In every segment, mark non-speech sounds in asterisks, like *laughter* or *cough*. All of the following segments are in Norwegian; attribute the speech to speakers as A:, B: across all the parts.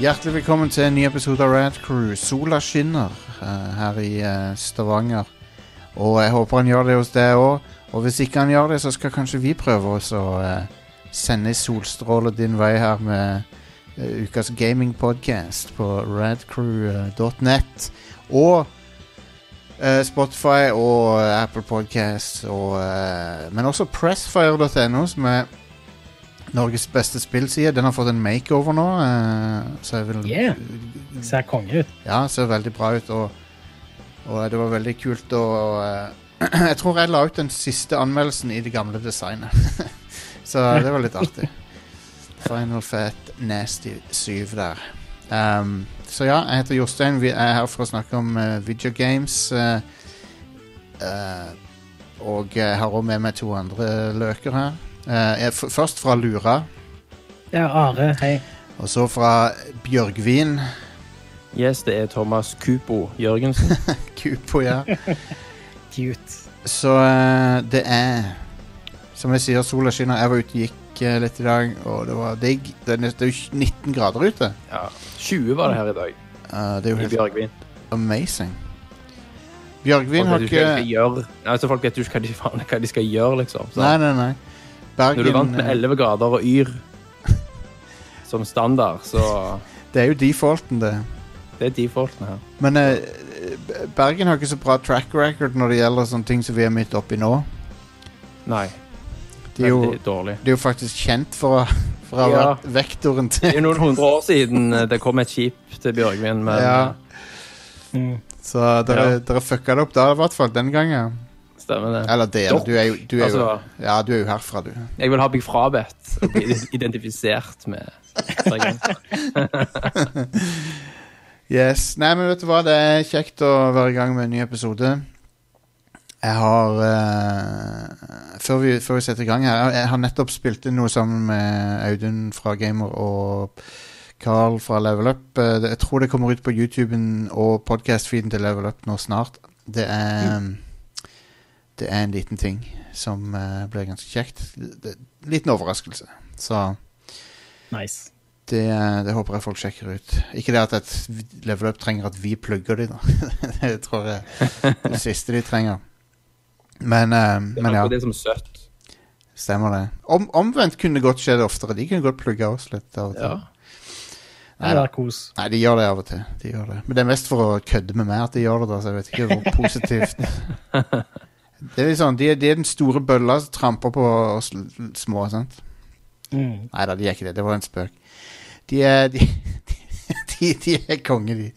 A: Hjertelig velkommen til en ny episode av Rad Crew. Sola skinner eh, her i eh, Stavanger. Og jeg håper han gjør det hos deg òg. Og hvis ikke han gjør det, så skal kanskje vi prøve også å eh, sende solstråler din vei her med eh, ukas gamingpodcast på radcrew.net. Og eh, Spotify og eh, Apple Podcasts og eh, Men også pressfire.no, som er Norges beste spillside. Den har fått en makeover nå, eh, så jeg vil
B: Yeah. Ser konge ut.
A: Ja, ser veldig bra ut, og, og det var veldig kult å eh, *clears throat* Jeg tror jeg la ut den siste anmeldelsen i det gamle designet. *laughs* så det var litt artig. Final Fat Nasty 7 der. Um, så ja, jeg heter Jostein. Vi er her for å snakke om uh, video games. eh, eh, og jeg har òg med meg to andre løker her. Eh, jeg- f først fra Lura,
B: Ja, Are, hei.
A: og så fra Bjørgvin. *laughs*
C: Yes, det er Thomas Kupo
A: *laughs*
C: Jørgensen.
A: Kupo, ja.
B: Cute.
A: Så eh, det er Som jeg sier, sola skinner. Jeg var ute og gikk eh, litt i dag, og det var digg. Det er, nest- det er jo 19 grader ute.
C: Ja. 20 var det her i dag.
A: Eh, det er jo
C: I
A: helt
C: Bjørgvin.
A: amazing.
C: Folk
A: Bjørgvin har
C: vet jo ikke hva
A: ikke
C: de skal gjøre. Altså, folk vet jo ikke hva de, faen, hva de skal gjøre, liksom. Så,
A: Nei, nei, nei.
C: når du er vant
A: Bergen
C: med
A: eh,
C: 11 grader og
A: *laughs*
C: yr som standard, så
A: Det er jo defaulten, det.
C: det er defaulten her.
A: Men eh, B- Bergen har ikke så bra track record når det gjelder sånne ting som vi er midt oppi nå.
C: Nei.
A: De er jo,
C: Veldig dårlig.
A: de er jo faktisk kjent for å, *laughs* for å ha
C: Ja.
A: vært vektoren
C: Det er *laughs*
A: til
C: jo noen hundre år siden eh, det kom et skip til Bjørgvin, men eh,
A: Ja.
B: Mm.
A: Så dere, dere fucka det opp da, i hvert fall. Den gangen.
C: eh, stemmer det.
A: Eller dere. Du er jo, du er jo
C: Altså,
A: Ja, du er jo herfra, du.
C: jeg vil ha meg frabedt å bli identifisert med
A: *laughs*
C: Bjørgvin.
A: Yes. Nei, men vet du hva, det er kjekt å være i gang med en ny episode. Jeg har eh, før, vi, før vi setter i gang her, jeg har nettopp spilt inn noe sammen med Audun fra Gamer og Carl fra Level Up. Eh, det- Jeg tror det kommer ut på YouTuben og podcast-feeden til Level Up nå snart. Det er, det er en liten ting som eh, blir ganske kjekt. Det, det, liten overraskelse. Så
B: Nice.
A: Det, det håper jeg folk sjekker ut. Ikke det at et level up trenger at vi plugger de, da. *laughs* det tror jeg er det siste de trenger. Men, eh,
C: Det
A: men ja,
C: er det som er søtt.
A: stemmer det. Om, omvendt kunne det godt skje det oftere. De kunne godt plugge oss litt av og til.
C: Ja.
B: Det er kos.
A: Nei, de gjør det av og til. De gjør det. Men det er mest for å kødde med meg at de gjør det, da, så jeg vet ikke hvor positivt
C: *laughs*
A: Det er litt sånn, de, er- de er den store bølla som tramper på oss l- l- små, sant?
B: Mm.
A: Nei da, de er ikke det. Det var en spøk. De er De, *laughs* de, de er konge, de.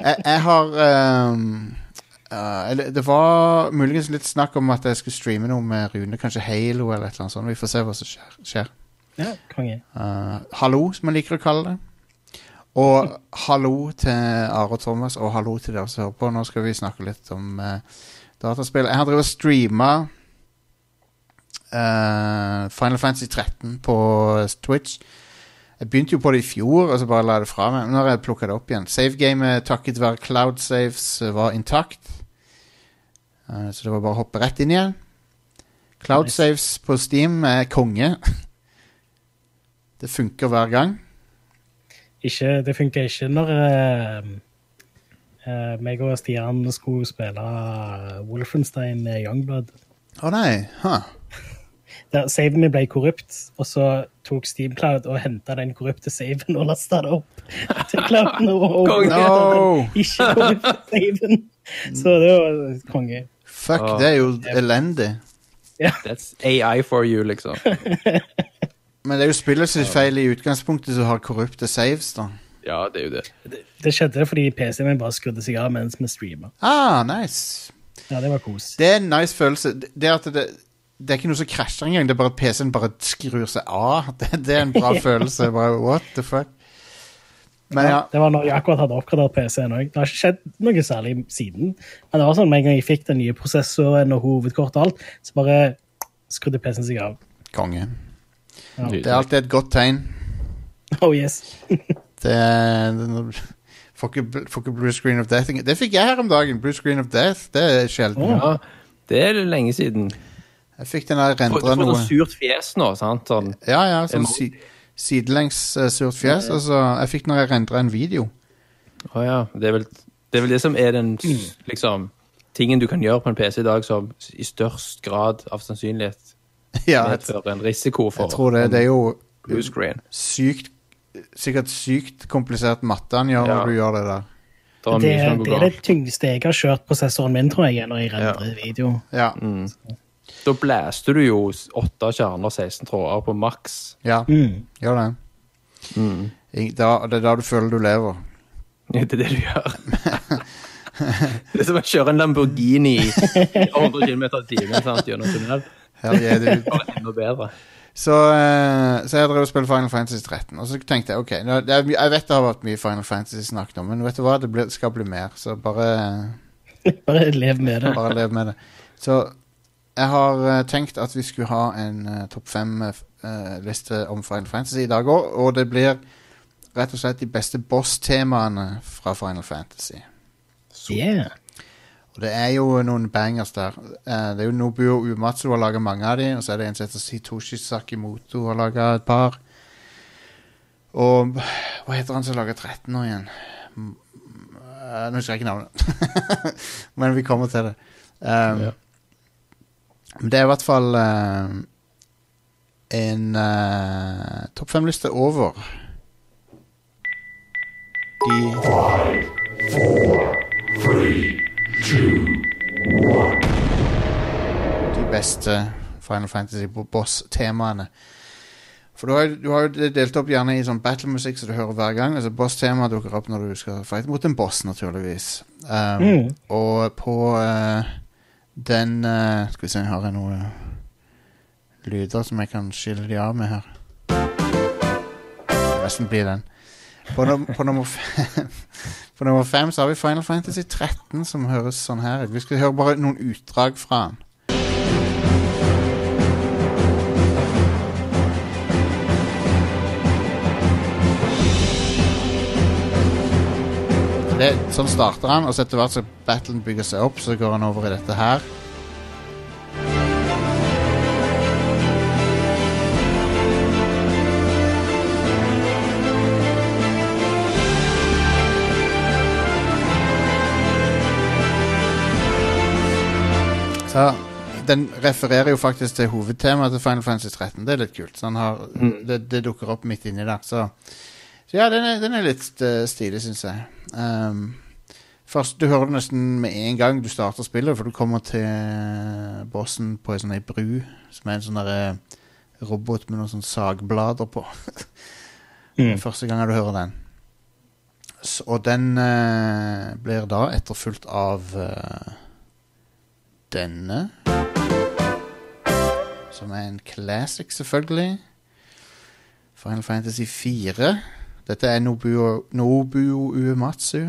A: Jeg, jeg har ehm, eh, eller Det var muligens litt snakk om at jeg skulle streame noe med Rune. Kanskje Halo eller et eller annet sånt. Vi får se hva som skjer. skjer.
B: Ja, konge.
A: Eh, hallo, som jeg liker å kalle det. Og hallo til Are og Thomas, og hallo til dere som hører på. Nå skal vi snakke litt om eh, dataspill. Jeg har drevet og streama eh, Final Fantasy 13 på Twitch. Jeg begynte jo på det i fjor, og så bare la jeg det fra meg. Men nå har jeg plukka det opp igjen. Savegamet takket være cloud saves var intakt. Eh, så det var bare å hoppe rett inn igjen. Cloud
B: Nice.
A: saves på Steam er konge. *laughs* Det funker hver gang.
B: Ikke, det funka ikke når eh, eh, meg og Stian skulle spille eh, Wolfenstein med Youngblood.
A: Å nei. Huh.
B: Der saven min ble korrupt, og så tok Steam Cloud og henta den korrupte saven og lasta det *laughs* opp til Clouden. Og, og,
C: Konge.
A: No.
B: Ikke korrupte saven. Så det var konge.
A: Fuck,
C: Åh.
A: det er jo elendig.
C: That's AI for you, liksom.
A: Men det er jo spillet sitt feil i utgangspunktet som har korrupte saves, da.
C: Ja, det er jo det.
B: Det skjedde fordi PC-en min bare skrudde seg av mens vi streama.
A: Ah, nice.
B: Ja, det var kos.
A: Det er en nice følelse. Det- Det er at det, det er ikke noe som krasjer engang, det er bare at PC-en bare skrur seg av. *laughs* Det, det er en bra følelse. Bare, what the fuck? Men ja.
B: Det var når jeg akkurat hadde oppgradert PC-en òg. Det har ikke skjedd noe særlig siden. Men det var sånn med en gang jeg fikk den nye prosessoren og hovedkort og alt, så bare skrudde PC-en seg av. *laughs*
A: Konge.
B: Ja.
A: Det er alltid et godt tegn.
B: Oh yes.
A: Det er det er noe- Får ikke, bl- får ikke blue screen of death. Det fikk jeg her om dagen. Blue screen of death. Det er sjelden.
C: Ja, det er lenge siden.
A: Jeg fikk den der
C: Du
A: rendra
C: får
A: noe.
C: noe surt fjes nå, sant? Sånn.
A: Ja, ja, sånn
C: Emo-
A: sy sidelengs eh, surt fjes. Altså, jeg fikk når jeg rendra en video. *laughs*
C: Å ja. Det er, vel, det er vel det som er den s- liksom, tingen du kan gjøre på en PC i dag som s- i størst grad av sannsynlighet
A: ja, jeg,
C: medfører en risiko for
A: jeg tror det.
C: en
A: Det er jo
C: blue screen.
A: sykt Sikkert sykt komplisert matte han gjør
C: Ja.
A: når du gjør det der.
C: Det er
B: Det,
C: mye som
B: det
C: går
B: er det
C: galt.
B: tyngste jeg har kjørt prosessoren min, tror jeg, når jeg rendrer video.
A: Ja.
C: Mm. Da blæster du jo s- åtte kjerner, 16 tråder på maks.
A: ja.
B: Mm. *laughs*
A: Gjør det. Ing- Da, det er da du føler du lever.
C: *laughs* Det er det du gjør. *laughs* det er som å kjøre en Lamborghini i 100 km i timen sant, gjennom tunnel.
A: Hell yeah, *laughs* dude.
C: Bare enda bedre.
A: Så, eh, så jeg drev og spilte Final Fantasy 13. Og så tenkte jeg ok, nå, det er, my- jeg vet det har vært mye Final Fantasy snakket om, men vet du hva, det blir- skal bli mer. Så bare,
B: Bare lev
A: *laughs*
B: med det.
A: bare lev med det. Så jeg har eh, tenkt at vi skulle ha en eh, topp fem-liste om Final Fantasy i dag òg. Og det blir rett og slett de beste boss-temaene fra Final Fantasy.
B: Yeah.
A: Og det er jo noen bangers der. Eh, det er jo Nobuo Umatsu har laga mange av de, og så er det en som heter Sitoshi Sakimoto har laga et par. Og hva heter han som lager 13 nå igjen? Mm, eh, Nå husker jeg ikke navnet, *laughs* men vi kommer til det. Um,
C: Ja.
A: men Det er i hvert fall eh, en eh, topp fem-liste over de de beste Final Fantasy-boss-temaene. For du har, jo- du har jo det delt opp gjerne i sånn battlemusikk som du hører hver gang. Altså Boss-tema dukker opp når du skal fighte mot en boss, naturligvis. Um,
B: Mm.
A: Og på eh, den eh, Skal vi se, har jeg noen lyder som jeg kan skille de av med her? Det må Nesten blir den. På, num på, nummer fem, *laughs* på nummer fem så har vi Final Fantasy 13, som høres sånn her ut. Vi skal høre bare noen utdrag fra den. For Det, sånn starter han, og så etter hvert som battlen bygger seg opp, så går han over i dette her. Så den refererer jo faktisk til hovedtemaet til Final Fantasy 13. Det er litt kult. Så han har, det, det dukker opp midt inni der. Så, så ja, den er, den er litt eh, stilig, syns jeg. Ehm, først, du hører det nesten med en gang du starter spillet, for du kommer til bossen på ei sånn ei bru som er en sånn derre robot med noen sånn sagblader på.
B: Mm.
A: Første gangen du hører den. S- og den eh, blir da etterfulgt av eh, denne. Som er en classic, selvfølgelig. Final Fantasy 4. Dette er Nobuo, Nobuo Uematsu.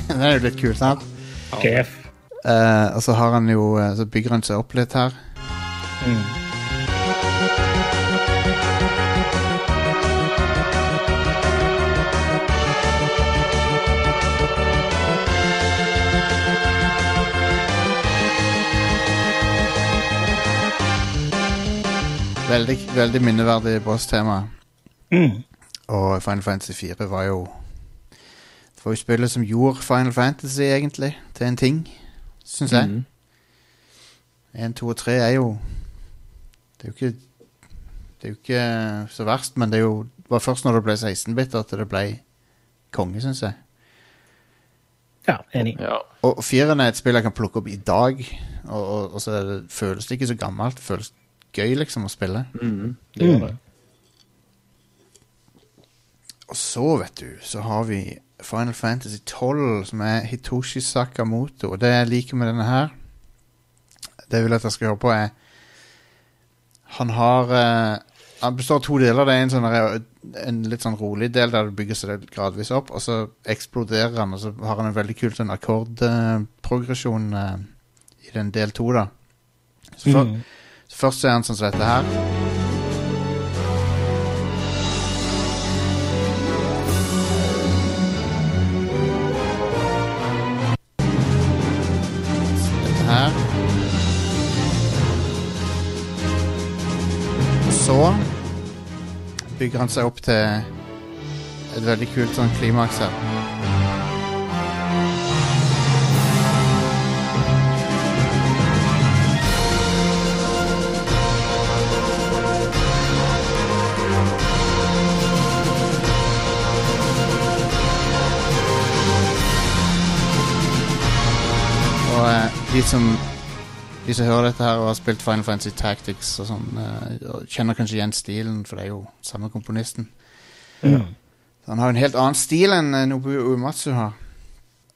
A: *laughs* Den er jo litt kul, sant?
B: Sjef.
A: Eh, og så har han jo eh, Så bygger han seg opp litt her.
B: Mm.
A: Veldig, veldig minneverdig boss-tema.
B: Mm.
A: Og Final Fantasy 4 var jo Det var jo spillet som gjorde Final Fantasy, egentlig, til en ting, syns jeg.
C: Mm.
A: 1, 2 og 3 er jo Det er jo ikke Det er jo ikke så verst, men det er jo det var først når det ble 16-bit at det ble konge, syns jeg.
B: Ja, enig.
C: Ja.
A: Og fireren er et spill jeg kan plukke opp i dag, og, og, og så er det, føles det ikke så gammelt. Det føles gøy, liksom, å spille.
C: Mm. Det gjør det.
A: Og så, vet du, så har vi Final Fantasy 12, som er Hitoshi Sakamoto. Og det jeg liker med denne her, det jeg vil at jeg skal høre på, er Han har eh, Han består av to deler. Det er en, sånn, der- en litt sånn rolig del der det bygger seg gradvis opp, og så eksploderer han, og så har han en veldig kul sånn akkordprogresjon eh, i den del to, da. Så for,
B: Mm.
A: så først er han sånn som dette her. bygger han seg opp til et veldig kult sånn klimaks her. Og eh, de som de som hører dette her og har spilt Final Fantasy Tactics og sånn, eh, og kjenner kanskje igjen stilen, for det er jo samme komponisten. Så han har jo en helt annen stil enn eh, Nobuo Uematsu har.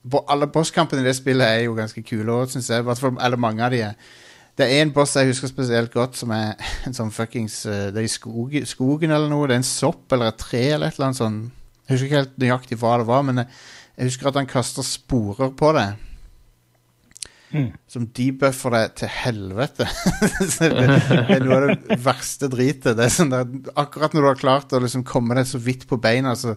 A: Bo alle bosskampene i det spillet er jo ganske kule òg, syns jeg. I hvert fall- Eller mange av de er. Det er en boss jeg husker spesielt godt, som er *laughs* en sånn fuckings eh, Det er i skog, skogen eller noe. Det er en sopp eller et tre eller et eller annet sånn. Jeg husker ikke helt nøyaktig hva det var, men jeg, jeg husker at han kaster sporer på det
B: Mm.
A: som debuffer det til helvete. *laughs* Så det, det er noe av det verste dritet. Det er sånn der, akkurat når du har klart å liksom komme deg så vidt på beina, så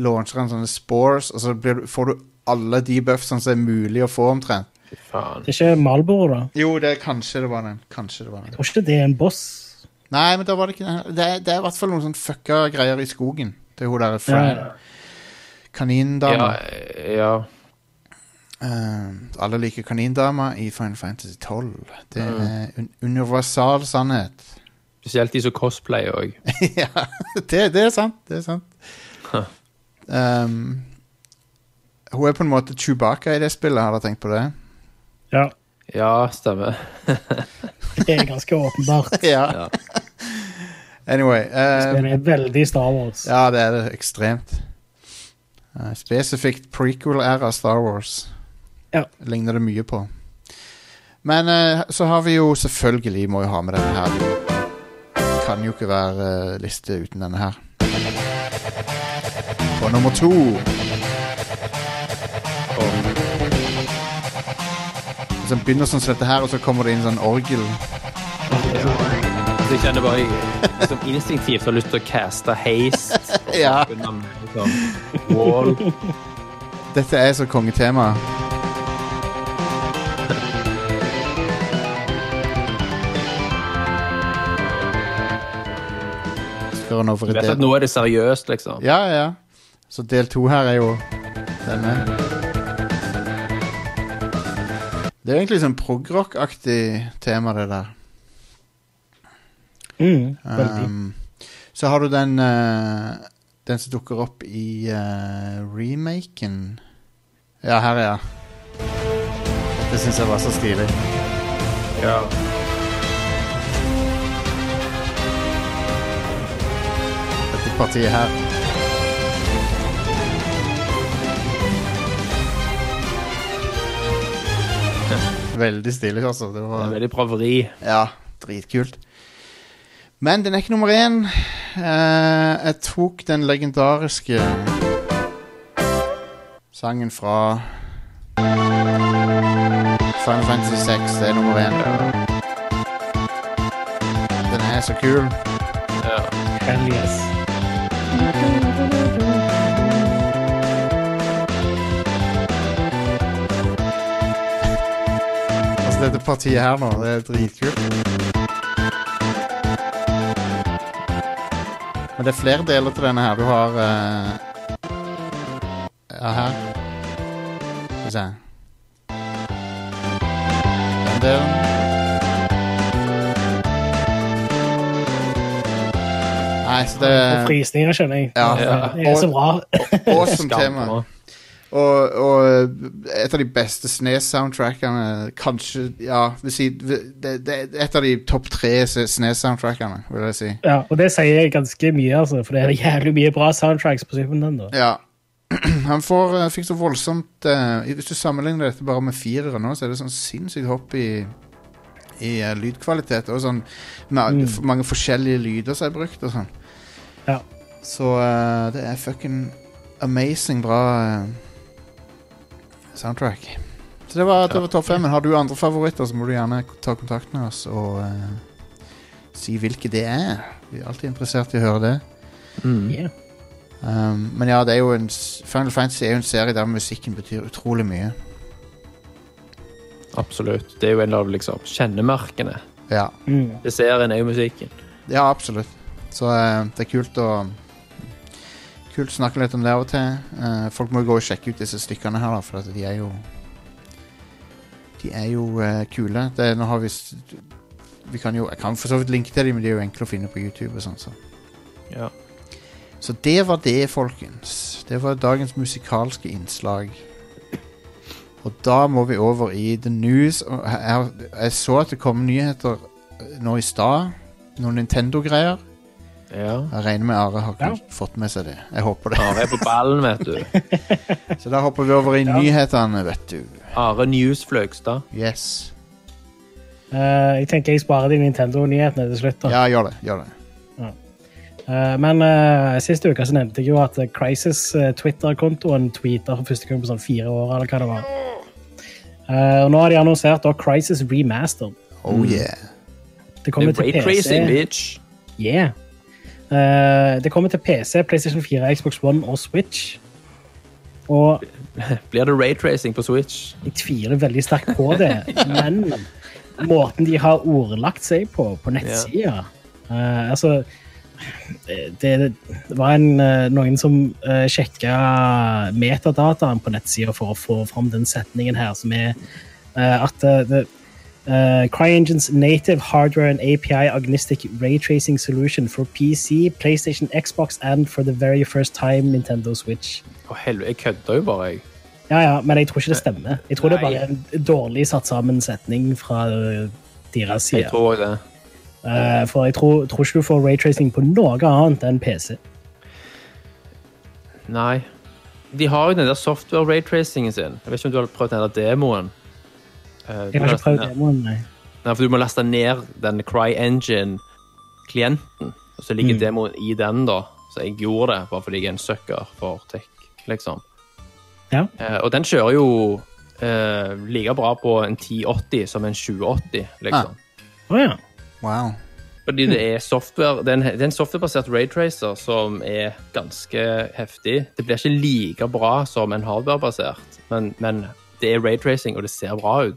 A: launcher han sånne spores, og så blir, du- får du alle debuffsene som er mulig å få, omtrent.
C: Fy faen.
B: Det er ikke Malboro, da.
A: Jo, det kanskje det var den. Kanskje det var den.
B: Jeg tror ikke det er en boss.
A: Nei, men da var det ikke den. Det, er- det er i hvert fall noen sånne fucka greier i skogen. Det er hun der Fran.
B: Ja.
A: Kanindama.
C: Ja, ja.
A: Eh, alle liker kanindama i Final Fantasy 12. Det er en universal sannhet.
C: Spesielt de som cosplayer òg.
A: *laughs* ja, det, det er sant. Det er sant.
C: Huh.
A: Um, hun er på en måte Chewbacca i det spillet, har dere tenkt på det?
B: Ja,
C: Ja, stemmer.
B: det er ganske åpenbart.
A: ja.
C: *laughs* Ja.
A: Anyway. *laughs* Um,
B: Det er veldig Star Wars.
A: ja, det er det. Ekstremt. Uh, spesifikt prequel-æra Star Wars.
B: Ja.
A: Ligner det mye på. Men eh, så har vi jo selvfølgelig må jo ha med denne her. Kan jo ikke være eh, liste uten denne her. På nummer to
C: Og,
A: Så begynner sånn som dette her, og så kommer det inn sånn orgel.
C: jeg kjenner bare jeg, liksom, instinktivt har lyst til å caste haste.
A: Ja.
C: Liksom,
A: *laughs*
C: wall.
A: Dette er så kongetema. Skal han over
C: Du
A: i
C: vet at
A: del
C: nå er det seriøst, liksom.
A: Ja, ja, ja. Så del to her er jo denne. Det er egentlig sånn progrock-aktig tema, det der.
B: Mm, veldig.
A: Um, så har du den eh, Den som dukker opp i eh, remaken. Ja, her, ja. Det syns jeg var så stilig.
C: Ja.
A: Dette partiet her. Veldig stilig, altså. Det
C: Det er
A: var
C: veldig braveri.
A: Ja, dritkult. Men den er ikke nummer én. Eh, jeg tok den legendariske sangen fra Final Fantasy 6. Det er nummer én. Den er så kul.
C: Ja.
B: Hell yes.
A: Altså dette partiet her nå, det er dritkult. Men det er flere deler til denne her. Du har eh, Ja, her. Skal vi se. Den delen. Nei, så det
B: Og
A: er
B: frysninger, skjønner jeg.
A: eh, Ja.
B: Det er så bra.
A: awesome tema.
C: Skambra.
A: Og, og eh, et av de beste SNES-soundtrackene Kanskje, ja vil si, det, det er Et av de topp tre SNES-soundtrackene, vil jeg si.
B: Ja, og det sier jeg ganske mye, altså, for det er jævlig mye bra soundtracks på Super Nintendo.
A: Ja. *clears throat* Han får, eh, fikk så voldsomt eh, Hvis du sammenligner dette bare med fireren nå, så er det sånn sinnssykt hopp i, i eh, lydkvalitet. Og sånn med, f- mange forskjellige lyder som er brukt og sånn.
B: Ja.
A: Så eh, det er fucking amazing bra eh, soundtrack. Så det var, det var topp fem. Men har du andre favoritter, så må du gjerne ta kontakt med oss og eh, si hvilke det er. Vi er alltid interessert i å høre det.
C: Mm.
B: Yeah.
A: Um, men ja, det er jo en, s- Final Fantasy er jo en serie der musikken betyr utrolig mye.
C: Absolutt. Det er jo en av liksom, kjennemerkene.
A: Ja,
B: Mm.
C: Desserten er jo musikken.
A: ja absolutt. Så eh, det er kult å Kult å snakke litt om det av og til. Eh, folk må jo gå og sjekke ut disse stykkene her, da, for at de er jo De er jo eh, kule. Det, er- nå har vi s- Vi kan jo Jeg kan for så vidt linke til dem, men de er jo enkle å finne på YouTube og sånn, så.
C: Ja.
A: Så det var det, folkens. Det var dagens musikalske innslag. Og da må vi over i the news. Og Jeg, jeg så at det kom nyheter eh, nå i stad. Noen Nintendo-greier.
C: ja.
A: Jeg regner med Are har ikke
B: Ja.
A: fått med seg det. Jeg håper det.
C: Are er på ballen, vet du.
A: Så da hopper vi over i nyhetene, vet du.
C: Are News Fløgstad.
A: Yes.
B: Eh, jeg tenker jeg sparer de Nintendo-nyhetene til slutt. da.
A: Ja, gjør det. Gjør det.
B: Eh, men eh, siste uke så nevnte jeg jo at eh, Crisis eh, Twitter-kontoen tweeter for første gang på sånn fire år, eller hva det var. Eh, og nå har de annonsert da Crisis Remastered.
A: Oh yeah.
B: Det
C: Det
B: kommer
C: er
B: til
C: Ray
B: PC.
C: Tracing, bitch.
B: Yeah. Eh, det kommer til PC, PlayStation 4, Xbox One og Switch. Og
C: Blir det Ray Tracing på Switch?
B: jeg tviler veldig sterkt på det, men måten de har ordlagt seg på på nettsida eh, Altså det, det var en, eh, noen som uh, sjekka metadataen på nettsida for å få fram den setningen her, som er eh, at eh, det, eh, CryEngine's native hardware and API agnostic raytracing solution for PC, PlayStation, Xbox and for the very first time Nintendo Switch.
C: Å, helvete. Jeg kødder jo bare, jeg.
B: Ja, ja, men jeg tror ikke det stemmer. Jeg tror det
C: Nei.
B: bare er en dårlig satt sammen setning fra ø, deres side.
C: Jeg tror det.
B: Eh, for jeg tror, tror ikke du får raytracing på noe annet enn PC.
C: Nei. De har jo den der software-raytracingen sin. Jeg vet ikke om du har prøvd den der demoen. Eh, du
B: Jeg har
C: må
B: ikke
C: laste
B: prøvd eh,
C: ned-
B: demoen, nei.
C: Nei, for du må laste ned den CryEngine-klienten, og så
B: Mm.
C: ligger demoen i den, da. Så jeg gjorde det, bare fordi jeg er en sucker for tech, liksom.
B: Ja.
C: Eh, og den kjører jo eh, like bra på en 1080 som en 2080,
B: Ah.
C: liksom.
B: Å ja.
A: Wow.
C: Fordi det er software, det er en, det er en softwarebasert raytracer som er ganske heftig. Det blir ikke like bra som en hardwarebasert, men, men det er raytracing, og det ser bra ut.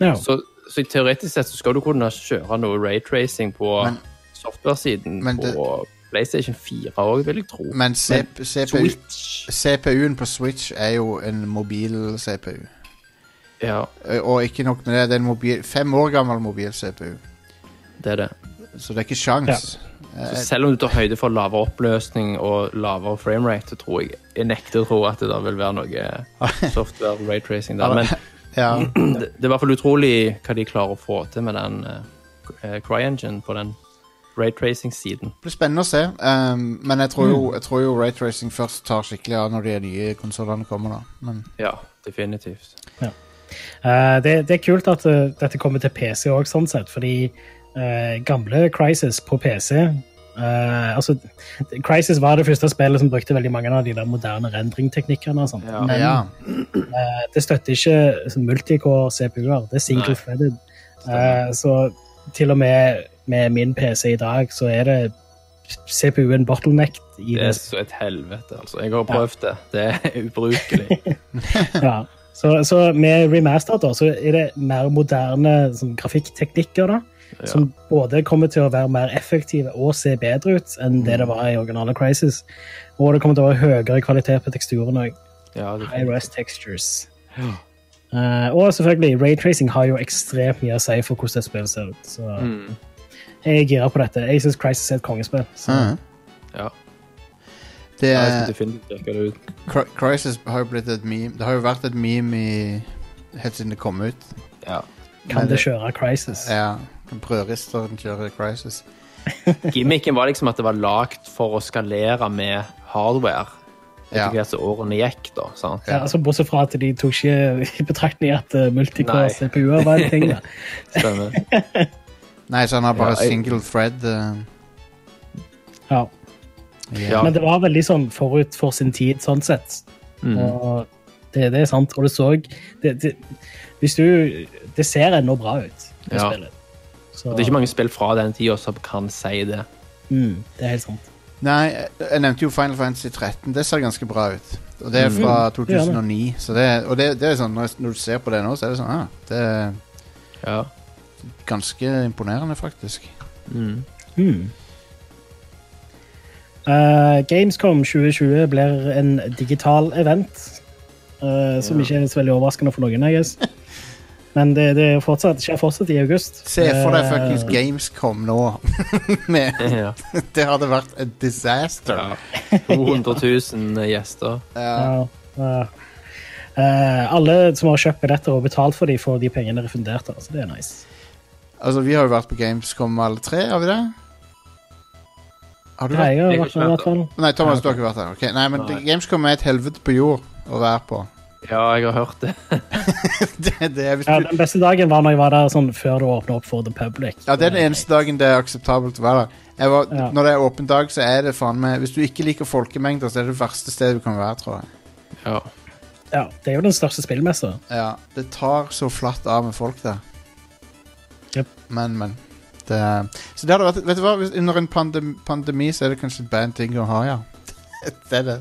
B: ja.
C: Så, så teoretisk sett så skal du kunne kjøre noe raytracing på
A: Men-
C: software-siden
A: men det-
C: på PlayStation 4 òg, vil jeg tro.
A: Men CP, CPU,
C: Switch
A: CPU-en på Switch er jo en mobil CPU.
C: Ja,
A: Eh, Og ikke nok med det, det er en mobil, fem år gammel mobil-CPU.
C: det er det.
A: Så det er ikke sjans. Eh,
C: Så selv om du tar høyde for lavere oppløsning og lavere framerate, så tror jeg Jeg nekter å tro at det da vil være
A: *laughs*
C: noe software raytracing der. Men
A: Ja.
C: det, det er i hvert fall utrolig hva de klarer å få til med den uh, CryEngine på den raytracing-siden.
A: Det blir spennende å se. ehm, men jeg tror, jo, jeg tror jo raytracing først tar skikkelig av når de nye konsollene kommer, da. Men
C: Ja, definitivt.
B: Eh, det, det er kult at ø, dette kommer til PC òg, sånn sett, fordi ø, gamle Crisis på PC eh, altså, Crisis var det første spillet som brukte veldig mange av de der moderne rendringteknikkene. og sånt.
C: Ja.
B: Men
A: ja.
B: Eh, det støtter ikke sånn multicore CPU-er. Det er single
C: Nei.
B: threaded. Eh, så til og med med min PC i dag, så er det CPU-en bottlenecked i
C: Det er
B: det.
C: så et helvete, altså. Jeg har prøvd det. Det er
B: *laughs*
C: ubrukelig.
B: *laughs* Ja. Så, så med remaster da, så er det mer moderne sånn, grafikkteknikker da, som både kommer til å være mer effektive og se bedre ut enn det det var i originale Crisis. Og det kommer til å være høyere kvalitet på teksturen òg.
C: Ja, det
B: High res textures. Eh, og selvfølgelig, raytracing har jo ekstremt mye å si for hvordan et spill ser ut. Så
C: Mm.
B: jeg er gira på dette. Jeg syns Crisis er et kongespill. Så.
A: Mhm.
C: ja.
A: Det
C: Ja, jeg skal
A: er,
C: definitivt sjekke det ut.
A: Cry- Crisis har jo blitt et meme. Det har jo vært et meme i, helt siden det kom ut.
C: Ja.
A: Men
B: Kan det kjøre Crisis?
A: Ja. Brødristeren kjører Crisis.
C: Gimmicken var liksom at det var lagd for å skalere med hardware.
A: Ja.
C: Etter hvert som årene gikk, da. Sant?
B: Ja, altså, bortsett fra at de tok ikke *laughs* i betraktning at uh, multicore
C: Nei.
B: CPU-er var en
C: *laughs*
B: ting. Da.
C: Stemmer.
A: Nei, så han har bare
C: Ja, jeg-
A: single thread. eh,
B: Ja.
C: Ja.
B: Men det var veldig sånn forut for sin tid, sånn sett.
C: Mm.
B: Og det, det er sant. Og det så det, det, Hvis du Det ser ennå bra ut, det
C: Ja.
B: spillet. Så,
C: Det er ikke mange spill fra den tida som kan si det.
B: mm, det er helt sant.
A: Nei, jeg- jeg nevnte jo Final Fantasy 13. Det ser ganske bra ut. Og det er
C: Mm.
A: fra 2009. Så det, og det, det er sånn, når når du ser på det nå, så er det sånn ah, Det er
C: Ja.
A: ganske imponerende, faktisk.
B: Mm. Eh, Gamescom 2020 blir en digital event, eh, som ikke er så veldig overraskende for noen. I
A: *laughs*
B: guess. Men det, det er fortsatt, skjer fortsatt i august.
A: Se for deg
B: Eh,
A: fuckings Gamescom nå. *laughs* Med,
C: *laughs* Ja.
A: det hadde vært a disaster.
C: 200 000 eh, gjester.
A: Ja.
B: Ja, ja. Eh, alle som har kjøpt billetter og betalt for dem, får de pengene refundert. da, Så det er nice.
A: Altså, vi har jo vært på Gamescom alle tre, har vi det? Har du
B: Nei,
A: vært?
B: jeg har
C: Jeg
B: vært
C: har
B: med, i
C: ikke
B: hvert fall.
A: Nei, Thomas, du har ikke vært der. Ok, Nei, men
C: Nei.
A: Gamescom er et helvete på jord å være på. *laughs*
C: Ja, jeg har hørt det.
A: Det, det er hvis
B: Ja,
A: du...
B: den beste dagen var når jeg var der sånn før det åpna opp for the public.
A: Ja, det er den eneste dagen det er akseptabelt å være der. Jeg var,
B: Ja.
A: Når det er åpen dag, så er det faen meg Hvis du ikke liker folkemengder, så er det det verste stedet du kan være, tror jeg.
C: Ja.
B: Ja, det er jo den største spillmessa.
A: Ja, Det tar så flatt av med folk der.
B: Jep.
A: Men, men. Det, så det hadde vært Vet du hva, hvis, under en pandem, pandemi så er det kanskje bare en ting å ha, ja. *laughs* Det er det.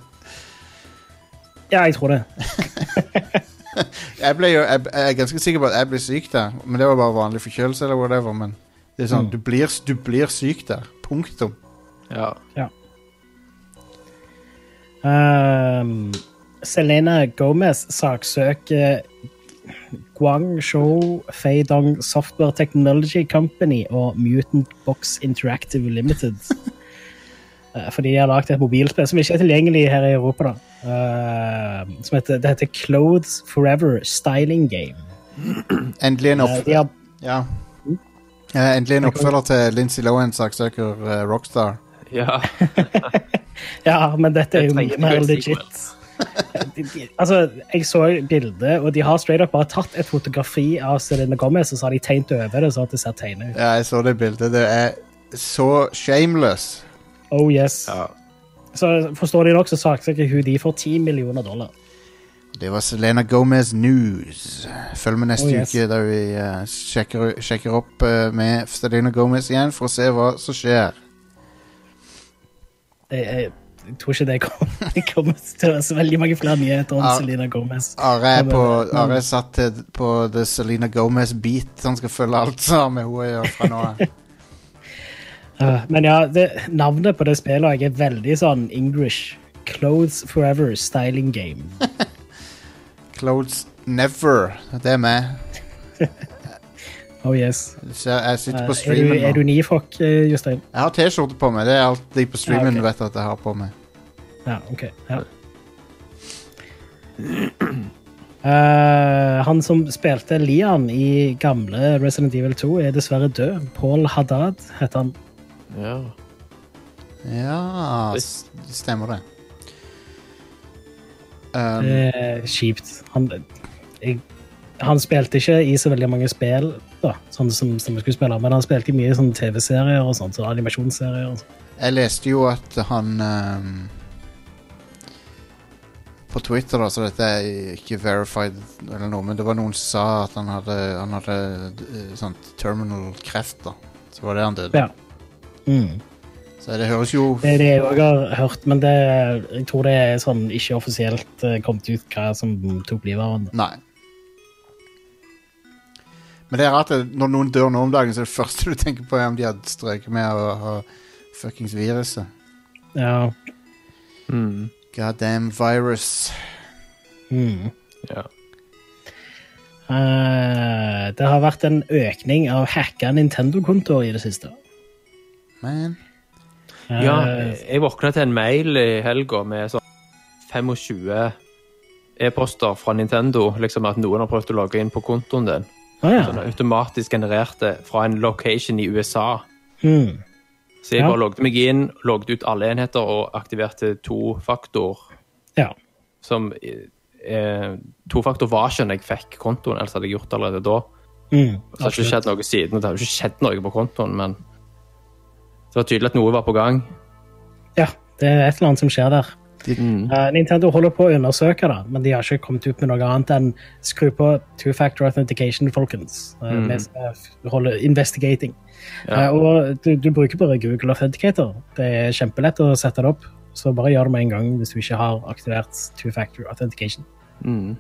B: Ja, jeg tror det.
A: Jeg, ble jo, jeg, jeg er ganske sikker på at jeg ble syk der, men det var bare vanlig forkjølelse eller whatever. Men det er sånn,
B: Mm.
A: du, blir, du blir syk der. Punktum.
C: ja.
B: Ehm, Selena Gomez saksøker Guangzhou Feidong Software Technology Company og Mutant Box Interactive Limited. Eh, Fordi de har lagd et mobilspill som ikke er tilgjengelig her i Europa. da. Ehm, som heter, det heter Clothes Forever Styling Game.
A: Endelig en
B: Eh, de
A: oppfølger.
B: har,
A: Ja. Eh, endelig en oppfølger til Lincy Lohan saksøker eh, Rockstar.
C: ja.
B: ja, men dette er jo
C: Jeg
B: mye
C: tenkte
B: mer
C: jo en
B: legit. De, de, *laughs* altså, jeg så bildet, og de har straight up bare tatt et fotografi av Selena Gomez, og så har de tegnet over det, sånn at det ser tegnet ut.
A: Ja, jeg så det bildet. Det er så shameless.
B: Oh yes.
C: ja.
B: Så forstår de nok, så saksøker hun de for 10 millioner dollar.
A: Det var Selena Gomez News. Følg med neste
B: Oh, yes.
A: uke, der vi eh, sjekker, sjekker opp eh, med Selena Gomez igjen for å se hva som skjer.
B: Jeg, jeg, jeg tror ikke det kommer, *laughs* det kommer til å være så veldig mange flere nyheter om
A: Ja.
B: Selena Gomez.
A: Are er,
B: Men,
A: på,
B: men-
A: Are er satt til, på The Selena Gomez Beat. Han skal følge alt som har med henne å gjøre fra nå av.
B: *laughs* Uh, men ja, det, navnet på det spillet jeg er veldig sånn English. Clothes Forever Styling Game.
A: Clothes Never. Det er meg.
B: Oh yes.
A: Du ser, Jeg sitter
B: Uh,
A: på
B: er, du,
A: streamen
B: er du
A: nå.
B: nifok, eh, Jostein?
A: Jeg har T-skjorte på meg. Det er alt de på streamen
B: Ja, ok.
A: vet at jeg har på meg.
B: Ja, ok. Ja. Eh, han som spilte Lian i gamle Resident Evil 2, er dessverre død. Paul Haddad heter han.
C: ja.
A: Ja, s-
C: Trist.
A: stemmer det. Um,
B: Eh, kjipt. Han, jeg, han spilte ikke i så veldig mange spill, da, sånn som stemmeskuespiller, men han spilte i mye sånn TV-serier og sånt, så animasjonsserier. og sånn. sånt.
A: jeg leste jo at han um, På Twitter, da, så dette er ikke verified eller noe, men det var noen som sa at han hadde, han hadde eh, sånn terminal kreft, da. Så var det han døde.
B: Ja. Mm.
A: Så det høres jo
B: Det er det jeg òg har hørt, men det, jeg tror det er sånn ikke offisielt eh, kommet ut hva som tok livet av han.
A: Nei. Men det er rart at når noen dør nå om dagen, så er det første du tenker på, er om de har strøket med å ha fuckings viruset.
B: Ja.
C: Mm.
A: God damn virus.
B: Mm.
C: ja.
B: Eh, det har vært en økning av hacka Nintendo-kontoer i det siste.
A: Man.
B: Eh,
C: Ja, jeg våkna til en mail i helga med sånn 25 e-poster fra Nintendo. Liksom at noen har prøvd å logge inn på kontoen din.
B: å ja.
C: Sånn automatisk genererte fra en location i USA.
B: Mm.
C: Så jeg
B: Ja.
C: bare logget meg inn, logget ut alle enheter og aktiverte to-faktor.
B: ja.
C: Som eh, to-faktor var ikke når jeg fikk kontoen, ellers hadde jeg gjort det allerede da.
B: Mm.
C: Så det har ikke
B: Absolutt.
C: skjedd noe siden, og det har jo ikke skjedd noe på kontoen, men det var tydelig at noe var på gang.
B: Ja, det er et eller annet som skjer der.
A: De-
B: Eh, Nintendo holder på å undersøke det, men de har ikke kommet ut med noe annet enn skru på two-factor authentication, folkens. Eh,
C: Mm.
B: Vi skal holde investigating.
C: Ja.
B: Eh, og du, du bruker bare Google Authenticator. Det er kjempelett å sette det opp, så bare gjør det med en gang hvis du ikke har aktivert two-factor authentication.
C: Mm.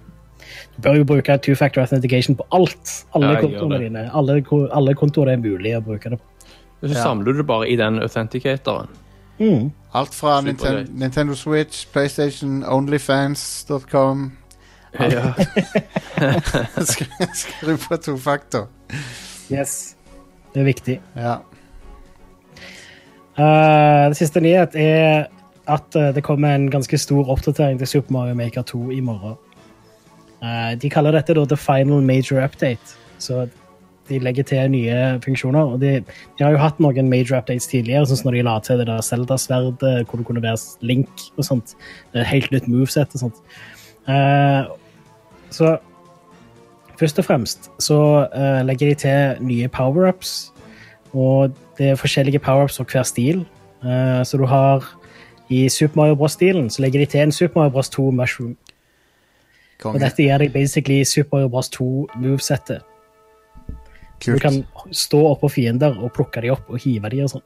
B: Du bør jo bruke two-factor authentication på alt. Alle
C: Ja, jeg gjør
B: kontoene
C: det.
B: dine. Alle, ko- alle kontoer det er mulig å bruke det på.
C: Og så
A: Ja.
C: samler du det bare i den authenticatoren.
B: Mm.
A: Alt fra Ninten
C: Supergreit.
A: Nintendo Switch, PlayStation, Onlyfans.com.
B: *laughs*
C: Ja.
A: Skru- Skru på tofaktor.
B: Yes. Det er viktig.
A: Ja.
B: Eh, det siste nyhet er at eh, det kommer en ganske stor oppdatering til Super Mario Maker 2 i morgen. Eh, de kaller dette da The Final Major Update. Så de legger til nye funksjoner. Og de, de har jo hatt noen major updates tidligere, sånn som når de la til det der Zelda-sverdet, hvor du kunne være Link og sånt. Det er et helt nytt moveset og sånt. Eh, så først og fremst så eh, legger de til nye power-ups. Og det er forskjellige power-ups og hver stil. Eh, så du har i Super Mario Bros-stilen så legger de til en Super Mario Bros 2 Mushroom. Og
A: Konge.
B: dette gir deg basically Super Mario Bros 2 movesettet. Du
A: Kult.
B: kan stå oppå fiender og plukke de opp og hive de og sånn.